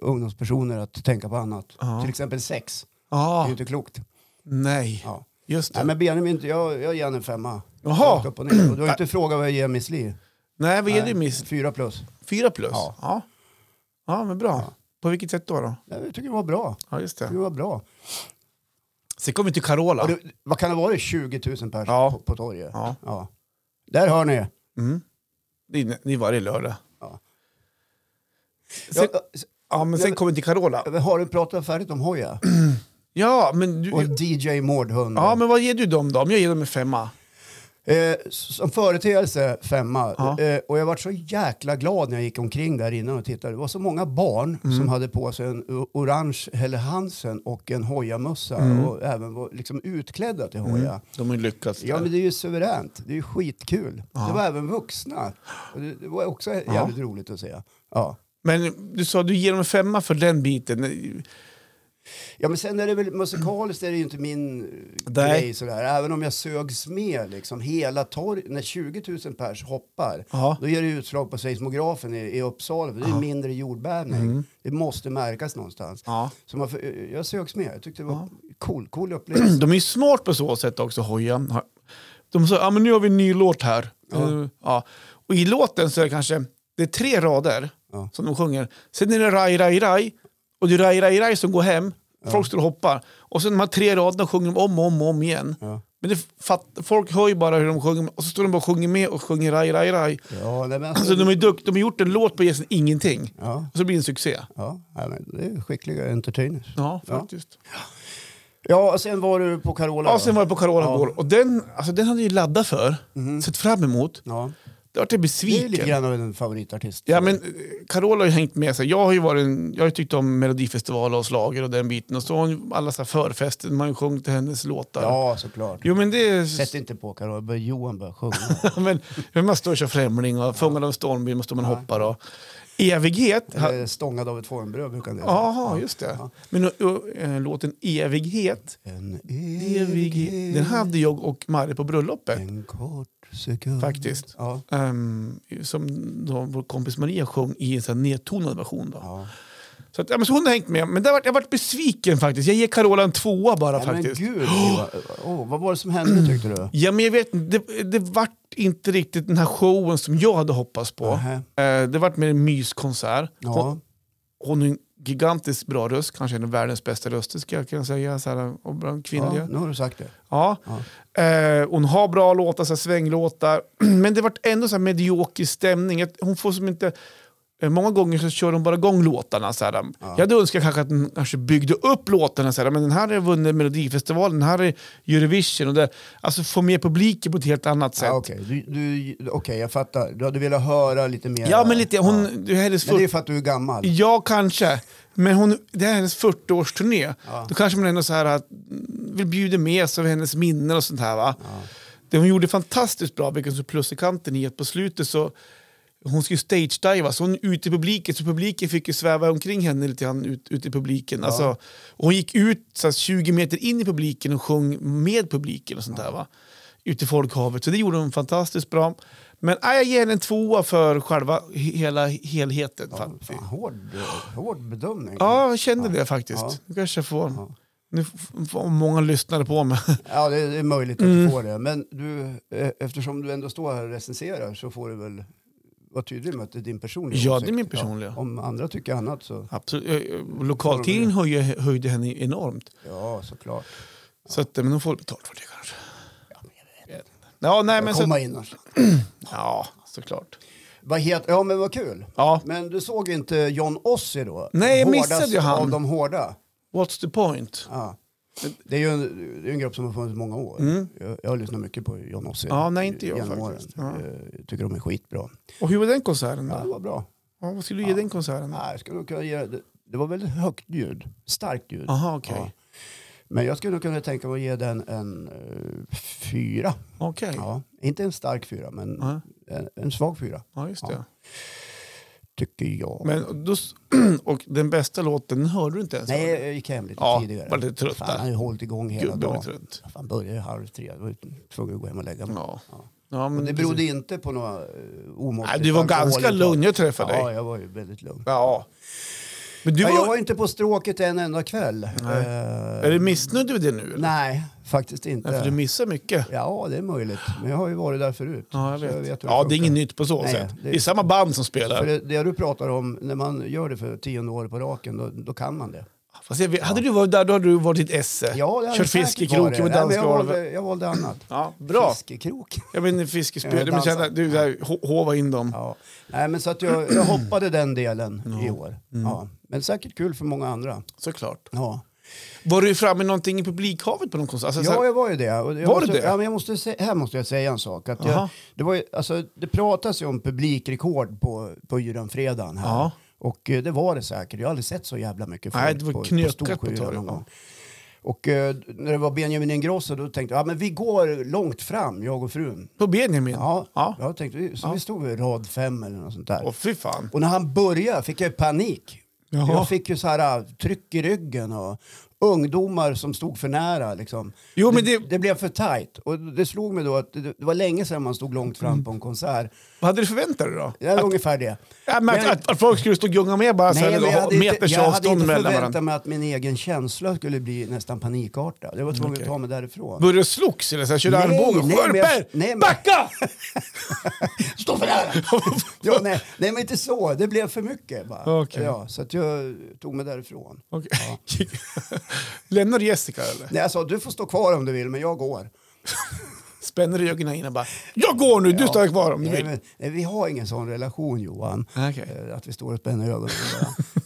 ungdomspersoner att tänka på annat.
Ja.
Till exempel sex. Det är
Ja,
ju inte klokt.
nej.
Ja.
Just det.
Nej, men Benjamin, jag, jag ger han en femma.
Jaha.
Rakt Upp och ner. Och du har inte frågat vad jag ger Miss Li.
nej, vad
Nej,
är det miss?
Fyra plus.
Fyra plus?
Ja.
Ja. Ja, men bra. På vilket sätt då? då?
Nej, Jag tycker det var bra.
Ja, just
Jag
det.
tycker det var bra.
Sen kom vi till Carola.
Och det, vad kan det vara? 20 000 personer
Ja.
på, på torget.
Ja.
Där hör ni.
Mm. Det är, det är varje lördag.
Ja.
Sen, ja,
Ja,
men sen kommer vi till Carola.
ja, har du pratat färdigt om Hoja?
Ja, men,
Och
du,
DJ Mårdhund.
ja, men vad ger du dem då? Om jag ger dem en femma?
Eh, som företeelse femma.
Ja.
Eh, och jag var så jäkla glad när jag gick omkring där innan och tittade. Det var så många barn
Mm.
som hade på sig en o- orange Helle Hansen och en hojamössa
Mm.
och även var liksom utklädda till hoja.
De har ju lyckats. där.
Ja, men det är ju suveränt. Det är ju skitkul. Det var även vuxna. Och Det det var också jävligt roligt att se. Ja.
men du sa du ger dem en femma för den biten.
ja, men sen är det väl musikaliskt är det ju inte min eh,
Nej.
grej sådär. Även om jag sögs med liksom hela torget. När 20 000 pers hoppar,
Ja.
då ger det utslag på seismografen i, i Uppsala. för Det är ju mindre jordbävning. Det måste märkas någonstans.
Mm. Ja.
Så man, får- eh, jag sögs med. Jag tyckte det var cool, cool upplevelse.
De är ju smart på så sätt också, Hoja. De sa, ja men nu har vi en ny låt här. Ja. ja. Och i låten så är det kanske, det är tre rader
Ja.
som de sjunger. Sen är det raj, raj, raj. Och det är raj, raj, raj som går hem. Folk står och hoppar. Och sen de här tre raderna sjunger de om och om, och om igen.
Ja.
Men det fatt, folk hör ju bara hur de sjunger och så står de bara och sjunger med och sjunger raj, raj, raj.
Ja, nej, men
Alltså,
alltså,
de, är dukt, de har gjort en låt på gästen ingenting.
ja,
Och så blir det en succé.
ja, ja, men det är skickliga entertainers.
Ja,
Ja.
faktiskt.
Ja, och sen var du på Carola.
Ja,
då?
sen var jag på Carola
Ja.
igår. Och den, alltså, den hade jag ju laddat för, sett fram emot.
ja.
Det vart jag
Det är lite
besviken.
grann av en favoritartist.
Ja, men eh, Carola har ju hängt med. Så här, jag, har ju varit en, jag har ju tyckt om Melodifestival och slager och den biten. Och så har hon alla så här förfester, man har ju sjungit hennes låtar.
ja såklart.
Jo, men det är...
Sätt inte på Carola, bör Johan börja sjunga.
men, men man står och kör Främling och Fångad av en stormvind måste man hoppa. Och evighet. ha-
Eller Stångad av ett formbröd brukar det
Jaha, just det. Men och, och, eh, låten Evighet,
En
evighet, den hade jag och Marie på bröllopet
En kort sekund.
faktiskt.
Ja.
Ehm, som då vår kompis Maria sjöng i en sån här nedtonad version. Då.
ja.
Så, att, ja, men så hon har hängt med. Men där vart, jag vart besviken faktiskt. Jag ger Carola en tvåa bara
Nej, men
faktiskt.
gud, Johan. Åh, vad var det som hände tyckte du?
Ja, men jag vet inte, det, det vart inte riktigt den här showen som jag hade hoppats på.
Nähä.
Eh, det vart mer en myskonsert.
Ja.
Hon har en gigantiskt bra röst, kanske en av världens bästa röster ska jag kunna säga, så här, och bland kvinnliga.
ja, nu har du sagt det.
Ja. Eh, hon har bra låtar, så här, svänglåtar. Men det vart ändå så här medioker stämning. Att Hon får som inte... eh, Många gånger så kör hon bara igång låtarna. Så här. Jag hade önskat kanske att hon kanske byggde upp låtarna. Så här, men den här har vunnit Melodifestivalen, den här är Eurovision. Och det, alltså få med publiken på ett helt annat sätt.
Ja,
Ja,
Okej, du, du, okej, jag fattar. Du hade velat höra lite mer.
men lite, hon,
Ja.
det är hennes
Men det är
40,
för att du är gammal.
Ja, kanske. Men hon, det här är hennes 40-årsturné. Då kanske man ändå så här, att, mm, vill bjuda med sig av hennes minnen och sånt här. Va? Det hon gjorde fantastiskt bra, vilket så plus i kanten i att på slutet så hon skulle stage-diva, så hon ut i publiken, så publiken fick ju sväva omkring henne lite grann ut, ut i publiken. Alltså, och hon gick ut så här, 20 meter in i publiken och sjöng med publiken och sånt där. Va? Ut i folkhavet, så det gjorde hon fantastiskt bra. Men nej, jag ger henne en tvåa för själva he- hela helheten. faktiskt.
Fan, hård, hård bedömning.
Ja, jag kände det faktiskt.
Mm. Ja.
Nu kanske jag får... Nu f- får många lyssnare på mig.
Ja, det är möjligt att
Mm.
du får det. Men du, eh, eftersom du ändå står här och recenserar så får du väl vara tydlig med att det är din personliga
Ja, det är
åsikt.
min personliga.
Ja, om andra tycker annat så,
Absolut. Eh, eh, Lokaltidningen höjde, höjde henne enormt.
ja såklart.
Så att, eh, men de får betalt för det kanske. Ja, nej, men
Komma
så,
in och så.
ja, såklart.
Vad heter, ja men vad kul.
Ja.
Men du såg inte John Ossie då?
Nej, jag
Hårdast
missade ju han.
av de hårda. What's
The point.
Ja. Det är ju en, det är en grupp som har funnits i många år. Jag, jag har lyssnat mycket på John Ossie.
Mm. Ja, nej, inte jag
genom
faktiskt.
åren. Jag tycker de är skitbra.
Och hur var den konserten då?
Ja, det var bra.
Ja, vad skulle du ge den konserten?
Nej, jag skulle nog kunna ge, det, det var väldigt högt ljud. Starkt ljud.
Aha, okej.
Ja. Men jag skulle nog kunna tänka mig att ge den en eh, fyra.
Okej,
Ja, inte en stark fyra, men
Nej.
en, en svag fyra.
ja just det.
Tycker jag.
Men då, s- och den bästa låten den hörde du inte ens?
Nej, jag gick hem lite
Ja,
tidigare.
var lite trött
Fan,
där.
han har ju hållit igång hela
Gubben var
dagen.
trött.
Han började ju halv tre. Jag var ju tvungen att gå hem och lägga mig.
Ja. Ja, men
Det berodde inte på några eh, omåttligt
Nej, du var ganska
alkoholintag.
lugn. Jag träffade
Ja,
dig.
jag var ju väldigt lugn.
Ja. Men du
Ja, jag
var,
var inte på stråket en enda kväll. Nej,
är du missnöjd över det nu? Eller?
nej faktiskt inte.
Nej, för du missar mycket.
Ja, det är möjligt. Men jag har ju varit där förut.
Ja, jag
så
vet.
vet hur
ja, det är
funkar.
inget nytt på så
Nej,
sätt.
det-
Det är samma band som
För
spelar.
det, det du pratar om, när man gör det för tionde året på raken, då, då kan man det.
Fast jag vet, hade du varit där, då hade du varit ditt esse.
Ja, det hade
Kört
säkert varit
fiskekroken
det.
på
Nej, men jag,
dansgolvet.
valde, jag valde annat.
Ja, bra.
Fiskekrok.
Jag menar fiskespö.
Jag
Du men känna,
dansar.
du där, ho- hova in dem.
Ja. Nej, men så att jag, jag hoppade den delen i år.
Mm.
Ja. Men säkert kul för många andra.
Såklart.
Ja,
Var du framme i någonting i publikhavet på någon konsert? Alltså, så här-
ja jag var ju det. Och jag
Var du
måste,
det?
Ja, men jag måste, sä- här måste jag säga en sak. Att jag,
Jaha.
det, var ju, alltså, det pratas ju om publikrekord på, på Djurenfredagen här.
Ja.
Och eh, det var det säkert. Jag har aldrig sett så jävla mycket folk
Nej, det var
på, på
knökat ett
Storsjö
tag,
någon
ja.
gång. Och eh, när det var Benjamin Ingrosso då tänkte jag, ja men vi går långt fram, jag och frun.
På Benjamin?
Ja,
ja.
Jag tänkte, vi- så vi stod i rad fem eller något sånt där.
Åh fy fan.
Och när han började fick jag panik.
Jaha.
Jag fick ju så här äh, tryck i ryggen och ungdomar som stod för nära. Liksom.
Jo, men det-
blev för tajt. Och det slog mig då att det, det var länge sedan man stod långt fram på en konsert.
Vad hade du förväntat dig då?
Det var ungefär det.
Ja, men att, att, att folk skulle stå och gunga med bara så här,
men
och ha meters
jag hade
avstånd
inte
mellan
förväntat
varandra.
mig att min egen känsla skulle bli nästan panikartad. Jag var tvungen att ta mig därifrån.
Började du slogs eller så här, körde
Nej,
armbågen?
nej, men jag-
Skärp
nej,
er!
men-
Backa!
Stå för nära! ja, nej, nej, men inte så. Det blev för mycket. Bara.
Okej.
Ja, så att jag tog mig därifrån.
Okej. Lämnar du Jessica eller?
Nej, jag sa du får stå kvar om du vill, men jag går.
spänner i ögonen innan bara “Jag går nu, du stannar kvar om du
Nej,
vill”.
men, nej, vi har ingen sån relation Johan.
Okej.
Eh, Att vi står och spänner ögonen.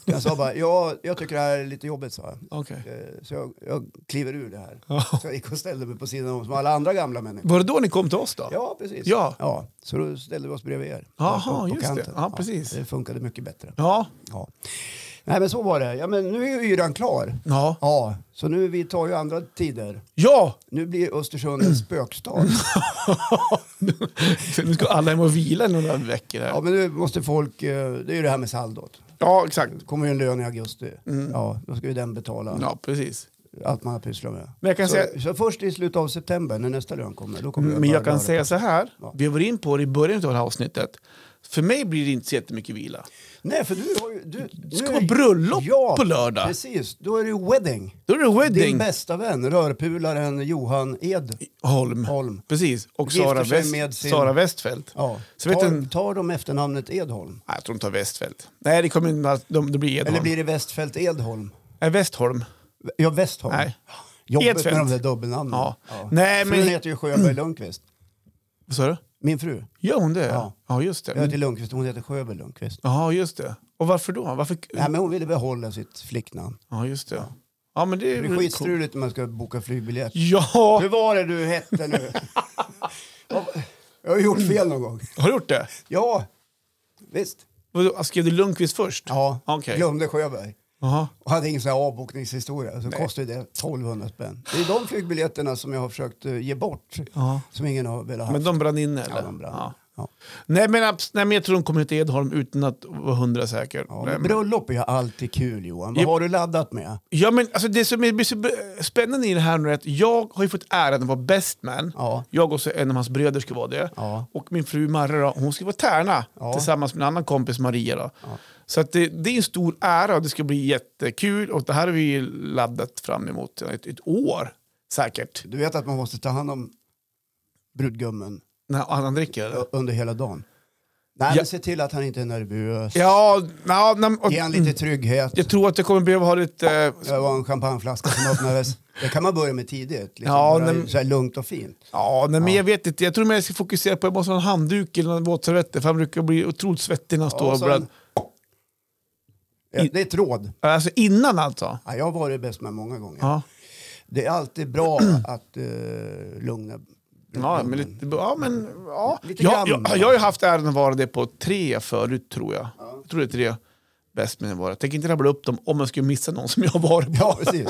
Jag sa bara, ja, jag tycker det här är lite jobbigt sa jag.
Okej.
Eh, Så jag, jag kliver ur det här.
Ja.
Så jag gick och ställde mig på sidan om som alla andra gamla människor.
Var det då ni kom till oss då?
Ja, precis.
Ja.
så då ställde vi oss bredvid er.
Jaha,
På- på
just det.
kanten.
Ja, precis.
det funkade mycket bättre.
Ja.
Ja. Nej, men så var det. Ja, men nu är ju yran klar.
Ja.
Ja, så nu vi tar ju andra tider.
Ja!
Nu blir Östersund en spökstad.
nu ska alla hem och vila i några veckor här.
Ja, men nu måste folk... eh, Det är ju det här med saldot.
Ja, exakt.
Det kommer ju en lön i augusti. Ja, då ska ju den betala
Mm. Ja, precis.
allt man har pysslat med.
Men jag kan
så,
säga- Mm,
så först i slutet av september när nästa lön kommer. Då kommer det
Men
bara
jag kan
röra
säga så här,
Ja.
vi var in på det i början av det här avsnittet. För mig blir det inte så jättemycket vila.
Nej, för du har ju... Du, du
ska
är-
vara bröllop
ja,
på lördag.
precis. Då är det ju wedding.
Då är det
Din
wedding,
bästa vän, rörpularen Johan Ed.
Holm.
Holm.
Precis, och
Gifter
Sara,
sig
West,
med sin-
Sara Westfeldt.
Ja.
Så vet
tar,
du-
tar de efternamnet Edholm?
Nej, jag tror de tar Westfeldt. Nej, det kommer inte... att- De, det blir Edholm.
Eller blir det Westfält Edholm?
Nej, Westholm.
Ja, Westholm.
Nej.
Jobbet
Edfeldt.
med de där dubbelnamnen.
Ja. Nej,
Frun
men-
heter ju Sjöberg Lundqvist.
Vad sa du?
Min fru.
Gör hon det?
Ja.
Ja, just det.
Jag heter
Men-
Lundqvist, hon heter Sjöberg Lundqvist.
Ja, just det. Och varför då? Varför...
Nej, men hon ville behålla sitt flicknamn.
Ja, just det. Ja, men det är
Det
väl
blir
coolt.
skitstruligt när man ska boka flygbiljett.
Mm, Ja!
Hur var det du hette nu? Vad- jag har gjort fel någon gång.
Har du gjort det?
Ja, visst.
Vadå, Skrev du Lundqvist först?
Ja,
Okej.
glömde Sjöberg.
Jaha.
Och hade ingen sån här avbokningshistoria. Så kostade det 1200 spänn. Det är de flygbiljetterna som jag har försökt eh, ge bort.
Ja.
Som ingen har velat ha.
Men de brann inne eller?
Ja, de brann.
Ja.
Ja.
Nej, men, abs- nej, men jag tror de kommer till Edholm utan att vara hundra säker.
Ja,
nej,
men
men,
bröllop är ju alltid kul Johan. Vad
Jo.
har du laddat med?
ja, men alltså, det som är blir så b- spännande i det här nu är att jag har ju fått äran att vara best man.
Ja.
Jag och så en av hans bröder ska vara det.
Ja.
Och min fru Marre, då, hon ska vara tärna
Ja.
tillsammans med en annan kompis Maria. Då. Så att det, det är en stor ära och det ska bli jättekul. Och det här har vi ju laddat fram emot ett, ett år säkert.
Du vet att man måste ta hand om brudgummen
När han dricker? eller?
ö- under hela dagen. Nej,
Ja.
men se till att han inte är nervös.
Ja, Mm. na, na, och,
Ge han lite trygghet.
jag tror att jag kommer behöva ha lite... eh,
Det var en champagneflaska som öppnades. Det kan man börja med tidigt. Liksom,
Ja,
bara
men-
så här lugnt och fint.
Ja, nej, men jag vet inte. Jag tror mer jag ska fokusera på att jag måste ha en handduk eller en våtservett. För han brukar bli otroligt svettig när han står och
så en-
blöd.
Ja, Det är ett råd.
Alltså innan alltså.
Ja, jag har varit bäst med många gånger.
Ja,
Det är alltid bra att eh, lugna
ja men
brudgummen.
lite... Ja, men, ja.
Lite
jag,
grann.
jag, jag har ju haft äran att vara det på tre förut tror jag. Jag tror det är tre bäst med att vara. Jag tänker inte rabbla upp dem om jag skulle missa någon som jag har varit på.
Ja, precis.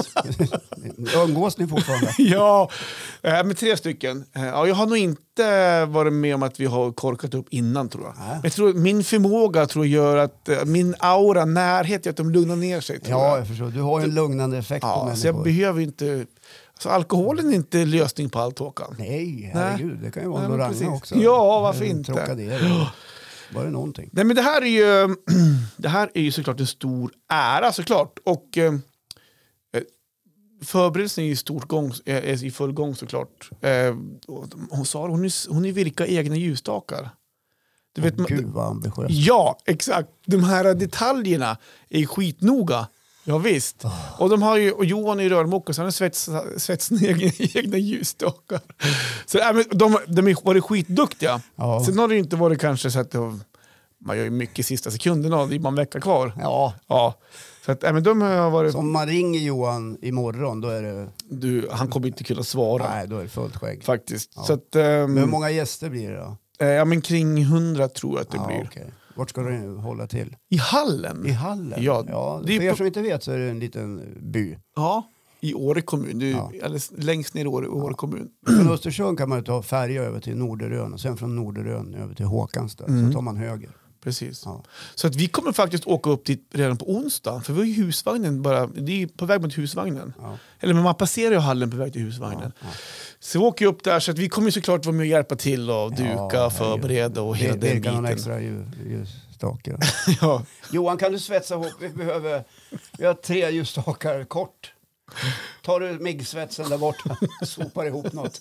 Umgås ni fortfarande?
Ja, eh, men tre stycken. Eh, Ja, jag har nog inte varit med om att vi har korkat upp innan tror jag.
Nej.
Men jag tror, min förmåga tror jag gör att eh, min aura, närhet, gör att de lugnar ner sig. Tror
Ja,
jag.
jag förstår. Du har ju en lugnande effekt på
Ja, så jag
människor.
behöver inte... Alltså, alkoholen är inte lösning på allt Håkan.
Nej, herregud. Det kan ju vara
Nej,
en
men
Loranga
precis.
också.
Ja, varför inte?
Trocadero. Var det någonting?
Nej, men det här är ju, det här är ju såklart en stor ära såklart. Och eh, eh, förberedelsen är ju i stort gång, eh, är i full gång såklart. Eh, och hon sa hon, är- hon är virka egna ljusstakar. Du vet, man,
Gud vad ambitiöst.
ja, exakt. De här detaljerna är skitnoga. Ja, visst.
Ah.
Och, de har ju, och Johan är ju rörmokare så han har svetsat svets sina egna, egna ljusstakar. Så äh, men de, de har ju varit skitduktiga.
Ja.
Sen har det ju inte varit kanske så att de, man gör ju mycket i sista sekunderna och det är bara en vecka kvar.
Ja,
Ja. Så att, äh, men de har varit,
så om man ringer Johan imorgon då är det,
du, han kommer inte kunna svara
nej, då är det fullt skägg.
faktiskt. Så att, ehm,
Men hur många gäster blir det då?
eh, ja, men kring 100 tror jag att det
Ja,
blir.
okej. Vart ska du hålla till?
I hallen?
I hallen?
Ja, det är
för er
på-
som inte vet så är det en liten by.
Ja, i Åre kommun. Du,
Ja.
alldeles längst ner i Åre, Åre kommun.
Från Östersund kan man ju ta färja över till Norderön och sen från Norderön över till Håkanstad.
Mm.
Så tar man höger.
Precis.
Ja.
Så att vi kommer faktiskt åka upp dit redan på onsdag. För vi har ju husvagnen bara. Det är ju på väg mot husvagnen.
Ja.
Eller men man passerar ju hallen på väg till husvagnen. Så vi åker ju upp där. Så att vi kommer ju såklart vara med och hjälpa till och duka,
herregud.
förbereda och hela
Det
den
virkar någon
biten.
extra ljus- ljusstake.
ja.
Johan, kan du svetsa ihop? Vi behöver... Vi har tre ljusstakar kort. Tar du miggsvetsen där borta sopar ihop något.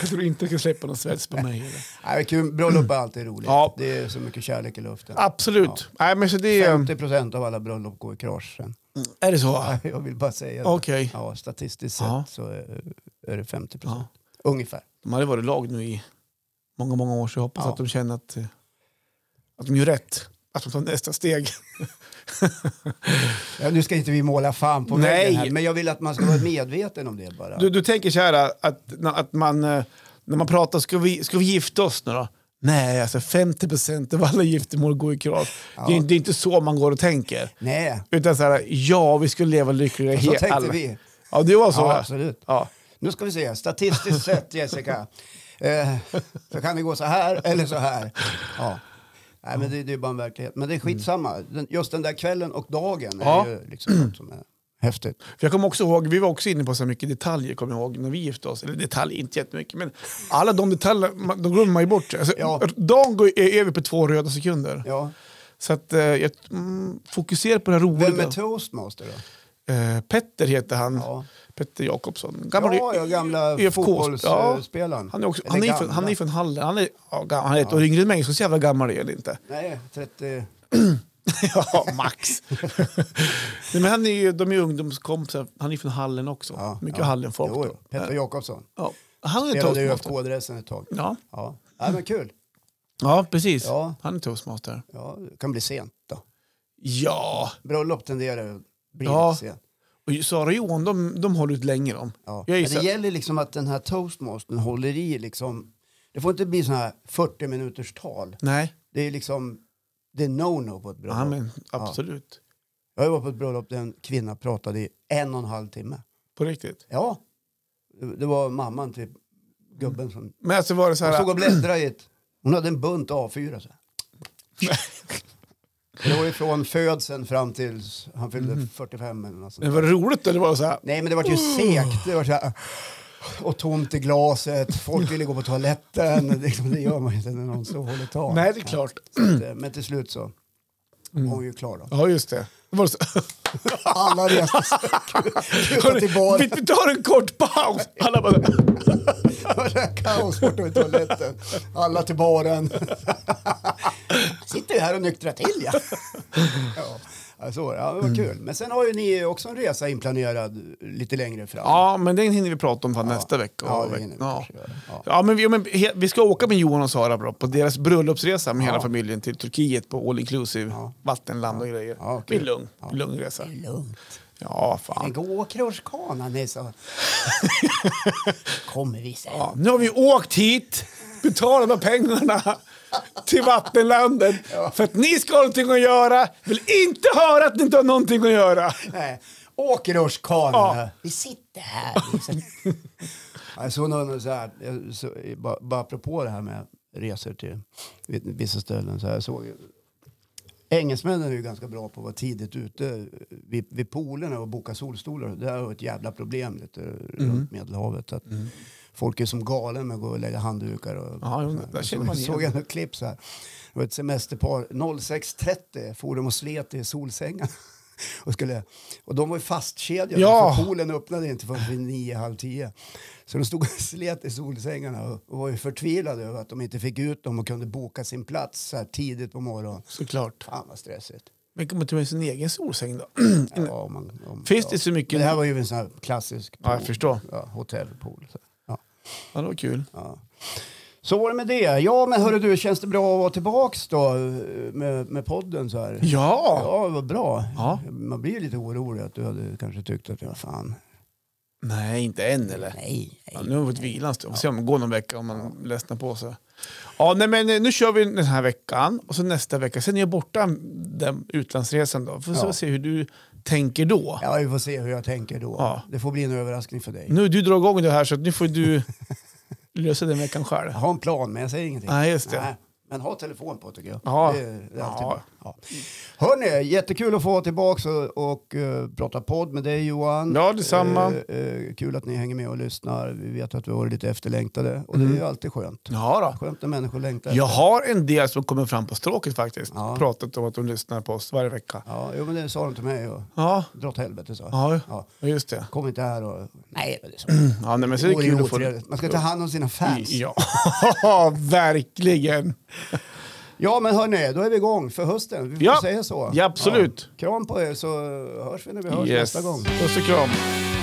Jag tror inte jag ska släppa någon svets på mig. Eller.
Nej, kul. Bröllop är alltid roligt.
Ja.
Det är så mycket kärlek i luften.
Absolut. Nej, men så det är,
50 procent av alla bröllop går i krasch sen.
är det så?
Jag vill bara säga det.
Okej.
Ja, statistiskt
Ja.
sett så är är det 50 procent.
Ja.
Ungefär.
De hade varit lag nu i många, många år så jag hoppas
Ja.
att de känner att, eh, att de gör rätt. Att de tar nästa steg.
Ja, nu ska inte vi måla fan på
Nej.
väggen här, men jag vill att man ska vara medveten om det bara.
Du, du tänker så här eh, att, att man, eh, när man pratar, ska vi, ska vi gifta oss nu då? Nej, alltså 50 procent av alla giftermål går i kras. Det, är- det är inte så man går och tänker.
Nej,
Utan så här, ja, vi skulle leva lyckliga
så
he-
tänkte
alla-
vi.
Ja, det var så.
Ja, absolut.
Ja.
Nu ska vi se, statistiskt sett Jessica, eh, så kan det gå så här eller så här. Ja. Nej, men det, det är bara en verklighet. Men det är skitsamma. Den, just den där kvällen och dagen
Mm. Ja.
är ju liksom något som är häftigt.
För jag kommer också ihåg, vi var också inne på så här mycket detaljer kommer jag ihåg när vi gifte oss. Eller detaljer, inte jättemycket, men alla de detaljerna, man- de glömmer man ju bort. Alltså,
Ja.
Dagen går är över på två röda sekunder.
Ja.
Så att, eh, jag, mm, fokusera på det roliga.
Vem är toastmaster då?
Eh, Petter heter han.
Ja.
Petter Jakobsson. Gammal
Ja, ja gamla
IFK. Ja.
fotbollsspelaren.
Han är, också,
Eller
han, är ju från,
gamla.
han är ju från Hallen. Han är, ja, gam- han är ett år yngre än mig, så jävla gammal är han inte.
Nej, 30...
ja, max. Nej, men han är ju, de är ju ungdomskompisar. Han är ju från Hallen också.
Ja,
Mycket
ja.
Hallenfolk.
Jo,
då.
jo. Petter Jakobsson.
Ja. Han är
Spelade ju
toastmaster.
ÖFK-dressen ett tag.
Ja.
Ja. ja, men kul.
ja, precis.
Ja.
Han är toastmaster.
Ja, det kan bli sent då.
Ja,
Bröllop tenderar att bli
Ja.
lite sent.
och ju- Sara och Johan, de, de håller ut länge de.
Ja.
Jag
Men det
gissar.
gäller liksom att den här toastmastern håller i liksom. Det får inte bli sådana här 40 minuters tal.
Nej,
Det är liksom, det är no-no på ett bröllop.
ja, men, absolut.
Jag var på ett bröllop där en kvinna pratade i en och en halv timme.
På riktigt.
Ja, det det var mamman till gubben som
Men alltså var det så
hon
här...
stod och bläddrade i ett, hon hade en bunt A4 så här. Det var ju från födseln fram tills han fyllde
Mhm.
45 eller något sånt.
Men var det roligt eller var det så här?
Nej, men det var ju
Mm.
segt. Det var så här, och tomt i glaset. Folk ville gå på toaletten. Det, liksom, det gör man ju inte när någon så håller tal.
Nej, det är klart.
Så att, eh, men till slut så var hon ju klar då.
Ja, just det. det var så.
Alla reste sig. Kutade till
vi,
baren.
vi tar en kort paus! Alla bara,
Det var så här kaos borta vid toaletten. Alla till baren. Sitter ju här och nyktrar till ja. ja. ja, Så, var det. ja, det
Mm.
var kul. Men sen har ju ni också en resa inplanerad lite längre fram.
ja, men den hinner vi prata om fan nästa vecka.
Ja,
och
det
veck-
hinner vi
ja.
kanske göra. Ja.
Ja, men vi, ja, men he, vi ska åka med Johan och Sara bra, på deras bröllopsresa med hela familjen till Turkiet på all inclusive, vattenland och grejer.
Ja,
det blir
kul.
lugn, lugn resa.
Lugnt.
Ja,
Men
fan.
gå krosskanan är så... Kommer vi sen.
Ja, nu har vi åkt hit, betalat de pengarna till vattenlandet för att ni ska ha någonting att göra. Vill inte höra att ni inte har någonting att göra.
Nej. Åker rutschkanan.
Ja.
Vi sitter här. Jag såg någon så här, jag så, bara, bara apropå det här med resor till vissa ställen. Så här, jag såg, ju- engelsmännen är ju ganska bra på att vara tidigt ute vid, vid poolerna och boka solstolar. Det här är ett jävla problem lite
Mm.
runt Medelhavet. Att Folk är som galen med att gå och lägga handdukar. Och,
Ja, jo, där
Jag
känner
såg-
man igen
såg jag något klipp så här. Det var ett semesterpar, 06.30 for de och slet i solsängar. Och, skulle, och de var ju fastkedjade,
Ja.
för poolen öppnade inte förrän vid nio, halv tio. Så de stod och slet i solsängarna och- och var ju förtvivlade över att de inte fick ut dem och kunde boka sin plats så här tidigt på morgonen.
Såklart.
Fan vad stressigt.
Men kommer ta med sin egen solsäng då?
Ja, om man, om,
Mm. Finns
ja.
det så mycket?
Men det här var ju en sån här klassisk
Ja, jag förstår.
Ja, hotellpool. Så. Ja.
Ja, det var kul.
Ja. Så var det med det. Ja, men hörru du, känns det bra att vara tillbaks då eh, med, med podden så här?
Ja!
Ja, vad bra.
Ja.
Man blir ju lite orolig att du hade kanske tyckt att, ja fan,
Nej, inte än eller?
nej,
Ja,
nej.
nu har vi fått vila en stund. Får se om det går någon vecka om man ledsnar på sig. Ja, nej, men eh, nu kör vi den här veckan och så nästa vecka. Sen är jag borta den utlandsresan då. Får
Ja.
så se hur du tänker då.
Ja, vi får se hur jag tänker då.
Ja. Mm.
Det får bli en överraskning för dig.
Nu har du drar igång det här så att nu får du lösa den veckan själv.
Jag har en plan, men jag säger ingenting.
Nej, just det.
Nej, Men ha telefon på tycker jag.
Ja.
Det är, det är alltid
Ja.
bra. Ja. Hörni, jättekul att få vara tillbaka och, och eh, prata podd med dig Johan.
Ja, detsamma.
Eh, eh, kul att ni hänger med och lyssnar. Vi vet att vi har varit lite efterlängtade och det är ju alltid skönt.
Mm. Ja, då.
Skönt när människor längtar.
Jag har en del som kommer fram på stråket faktiskt.
Ja.
Pratat om att de lyssnar på oss varje vecka.
Ja, jo, men det sa de till mig. Och,
Ja,
dra åt helvete sa jag.
ja.
Ja.
ja just det.
Kom inte här och... Nej, men det är så.
Ja, nej, men så
Det
är det
vore ju
kul att få...
otrevligt. Man ska ta hand om sina fans.
Ja, verkligen.
Ja, men hörni, då är vi igång för hösten. Vi får
Ja.
säga så.
Ja, absolut.
Ja. Kram på er så hörs vi när vi hörs
Yes.
nästa gång.
Puss och kram.